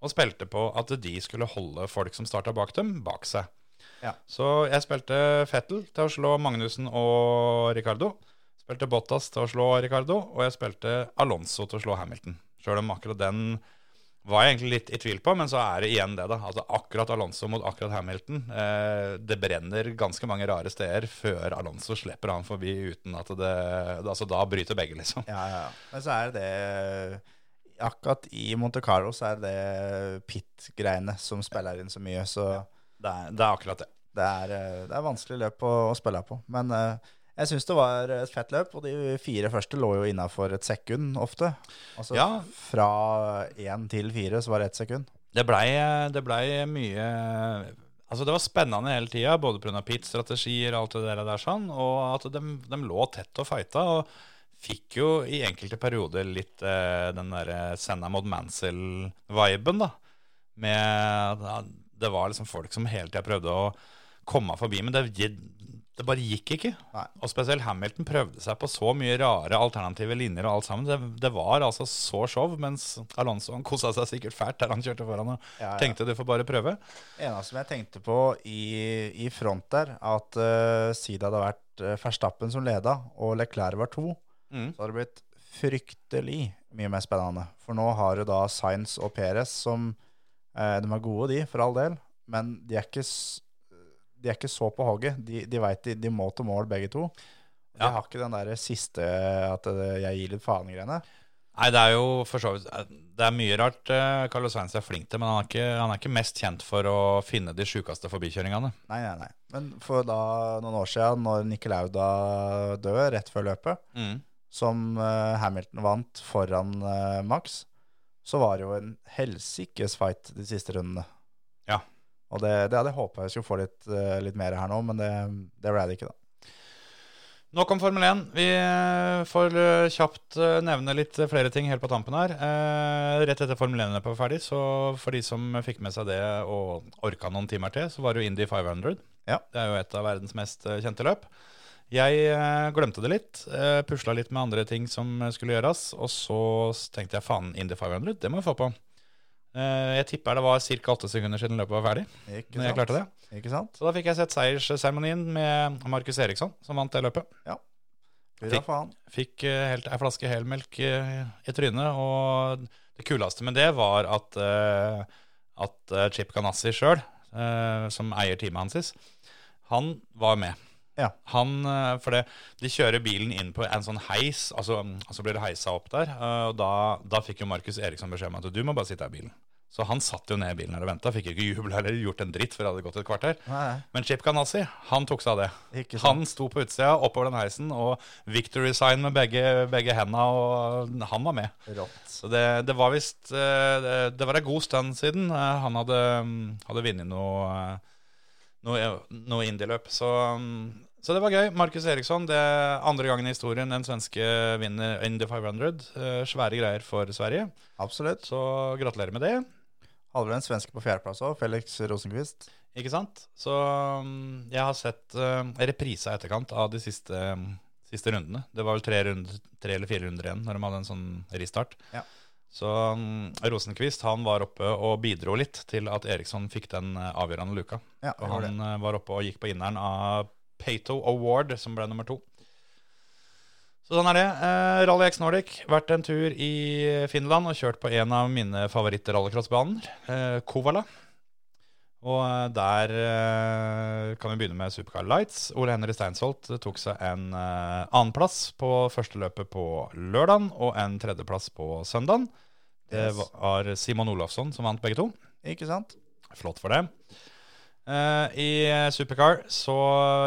og spilte på at de skulle holde folk som starta bak dem, bak seg.
Ja.
Så jeg spilte Fettel til å slå Magnussen og Ricardo. Spilte Bottas til å slå Ricardo, og jeg spilte Alonso til å slå Hamilton. Sjøl om akkurat den var jeg egentlig litt i tvil på, men så er det igjen det, da. Altså akkurat Alonso mot akkurat Hamilton. Eh, det brenner ganske mange rare steder før Alonso slipper han forbi uten at det Altså da bryter begge, liksom.
Ja, ja. ja. Men så er det det Akkurat i Monte Carlo så er det det pit-greiene som spiller inn så mye, så
Det er, det er akkurat det.
det er, eh, det er vanskelig løp å, å spille på. Men eh, jeg syns det var et fett løp, og de fire første lå jo innafor et sekund ofte. Altså
Ja.
fra én til fire så var det ett sekund.
Det blei det blei mye Altså Det var spennende hele tida, både pga. pitstrategier og alt det der, der sånn, og at de, lå tett og fighta. Og fikk jo i enkelte perioder litt eh, den derre Senna mot Mansell-viben, da. Med ja, Det var liksom folk som hele tida prøvde å komme forbi, men det, det bare gikk ikke.
Nei.
Og spesielt Hamilton prøvde seg på så mye rare alternative linjer og alt sammen. Det, det var altså så show, mens Alonso han kosa seg sikkert fælt der han kjørte foran og
Ja, ja.
tenkte du får bare prøve.
eneste som jeg tenkte på i, i front der, at uh, siden det hadde vært eh, Verstappen som leda, og Leclerc var to,
Mm.
så hadde det blitt fryktelig mye mer spennende. For nå har du da Sainz og Perez som eh, De er gode, de, for all del, men de er ikke, s- de er ikke så på hogget. De, de veit de, de må til mål, begge to. De
Ja.
har ikke den der siste at eh, jeg gir litt faen-greiene.
Nei, det er jo for så vidt eh, Det er mye rart eh, Carlos Sainz er flink til, men han er ikke, han er ikke mest kjent for å finne de sjukeste forbikjøringene.
Nei, nei, nei. Men for da noen år siden, når Nikke Lauda døde rett før løpet,
Mm.
som eh, Hamilton vant foran eh, Max, så var det jo en helsikes fight de siste rundene.
Ja.
Og det, det hadde jeg håpa jeg skulle få litt, eh, litt mer her nå, men det, det ble det ikke, da.
Nok om Formel 1. Vi eh, får eh, kjapt eh, nevne litt eh, flere ting helt på tampen her. Eh, Rett etter Formel 1 var ferdig, så for de som fikk med seg det og orka noen timer til, så var det jo Indy 500.
Ja.
Det er jo et av verdens mest eh, kjente løp. Jeg eh, glemte det litt, eh, pusla litt med andre ting som eh, skulle gjøres, og så s- tenkte jeg faen, Indy 500, det må vi få på. Eh, Jeg tipper det var ca. åtte sekunder siden løpet var ferdig.
Ikke
Men jeg klarte det.
Ikke sant?
Så da fikk jeg sett seiersseremonien med Markus Eriksson, som vant det løpet.
Hurra
Fikk-
for han.
Fikk eh, helt, ei flaske helmelk eh, i trynet, og det kuleste med det var at, eh, at eh, Chip Ganassi sjøl, som eier teamet hans, sies, han var med.
Ja.
Han, eh, for det, de kjører bilen inn på en sånn heis, altså, mm, og så blir det heisa opp der. eh, Og da, da fikk jo Markus Eriksson beskjed om at du må bare sitte her i bilen. Så han satt jo ned i bilen her og venta. Fikk jo ikke jubla eller gjort en dritt før det hadde gått et kvarter.
Nei, nei.
Men Chip Ganassi, han tok seg av det.
Ikke sant.
Han sto på utsida oppover den heisen, og victory sign med begge, begge henda, og han var med.
Rått.
Så det, det var visst eh, Det det var en god stund siden eh, han hadde, mm, hadde vunnet noe, eh, noe, noe indieløp. Så, mm, så det var gøy. Markus Eriksson, det er andre gangen i historien en svenske vinner Indy 500. Eh, Svære greier for Sverige.
Absolutt.
Så gratulerer med det.
Hadde vel en svenske på fjerdeplass òg, Felix Rosenquist.
Ikke sant? Så mm, jeg har sett uh, reprisa i etterkant av de siste, mm, siste rundene. Det var vel tre, runder, tre eller fire runder igjen når de hadde en sånn restart.
Ja.
Så mm, Rosenquist han var oppe og bidro litt til at Eriksson fikk den eh, avgjørende luka.
Ja,
Og
gjorde det.
han eh, var oppe og gikk på inneren av Pato Award, som ble nummer to. Så sånn er det. Eh, Rally X Nordic, vært en tur i Finland og kjørt på en av mine favoritt-rallycrossbaner, eh, Kovala. Og eh, der eh, kan vi begynne med Supercar Lights. Ole Henry Steinsholt tok seg en eh, annenplass på første løpet på lørdagen, og en tredjeplass på søndagen. Det
Yes.
var Simon Olafsson som vant begge to.
Ikke sant?
Flott for det. Eh, I Supercar så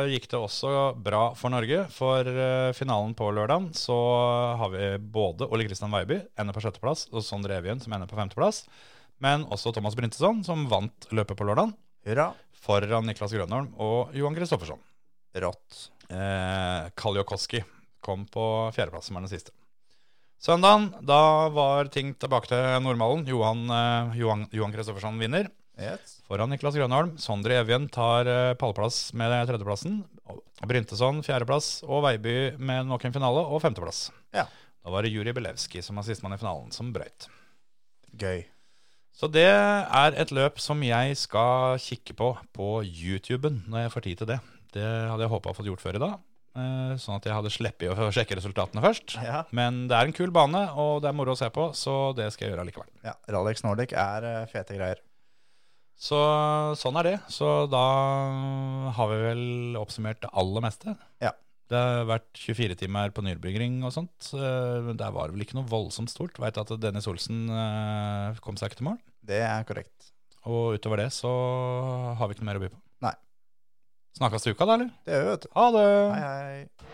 gikk det også bra for Norge. For eh, finalen på lørdagen så har vi både Ole Kristian Weiby, ender på sjetteplass, og Sondre Evjen, som ender på femteplass. Men også Thomas Bryntesson, som vant løpet på lørdagen,
Hurra.
foran Niklas Grønholm og Johan Kristoffersson.
Rått.
Eh, Kaliokoski kom på fjerdeplass, som er den siste. Søndagen, da var ting tilbake til normalen. Johan, eh, Johan, Johan Kristoffersson vinner
Yes.
foran Niklas Grønholm. Sondre Evjen tar eh, pallplass med tredjeplassen. Bryntesson fjerdeplass og Veiby med nok en finale og femteplass.
Ja.
Da var det Juri Belevski som var sistemann i finalen, som brøyt.
Gøy.
Så det er et løp som jeg skal kikke på på YouTuben når jeg får tid til det. Det hadde jeg håpa å fått gjort før i dag, eh, sånn at jeg hadde sluppet å sjekke resultatene først.
Ja.
Men det er en kul bane, og det er moro å se på, så det skal jeg gjøre likevel.
ja. Rallex Nordic er eh, fete greier.
Så sånn er det. Så da har vi vel oppsummert det aller meste.
Ja.
Det har vært 24 timer på Nürburgring og sånt. Eh, Der var det vel ikke noe voldsomt stort. Veit at Dennis Olsen eh, kom seg ikke til mål.
Det er korrekt.
Og utover det så har vi ikke noe mer å by på.
Nei.
Snakkes til uka, da, eller?
Det gjør vi, vet du.
Ha det!
Hei, hei.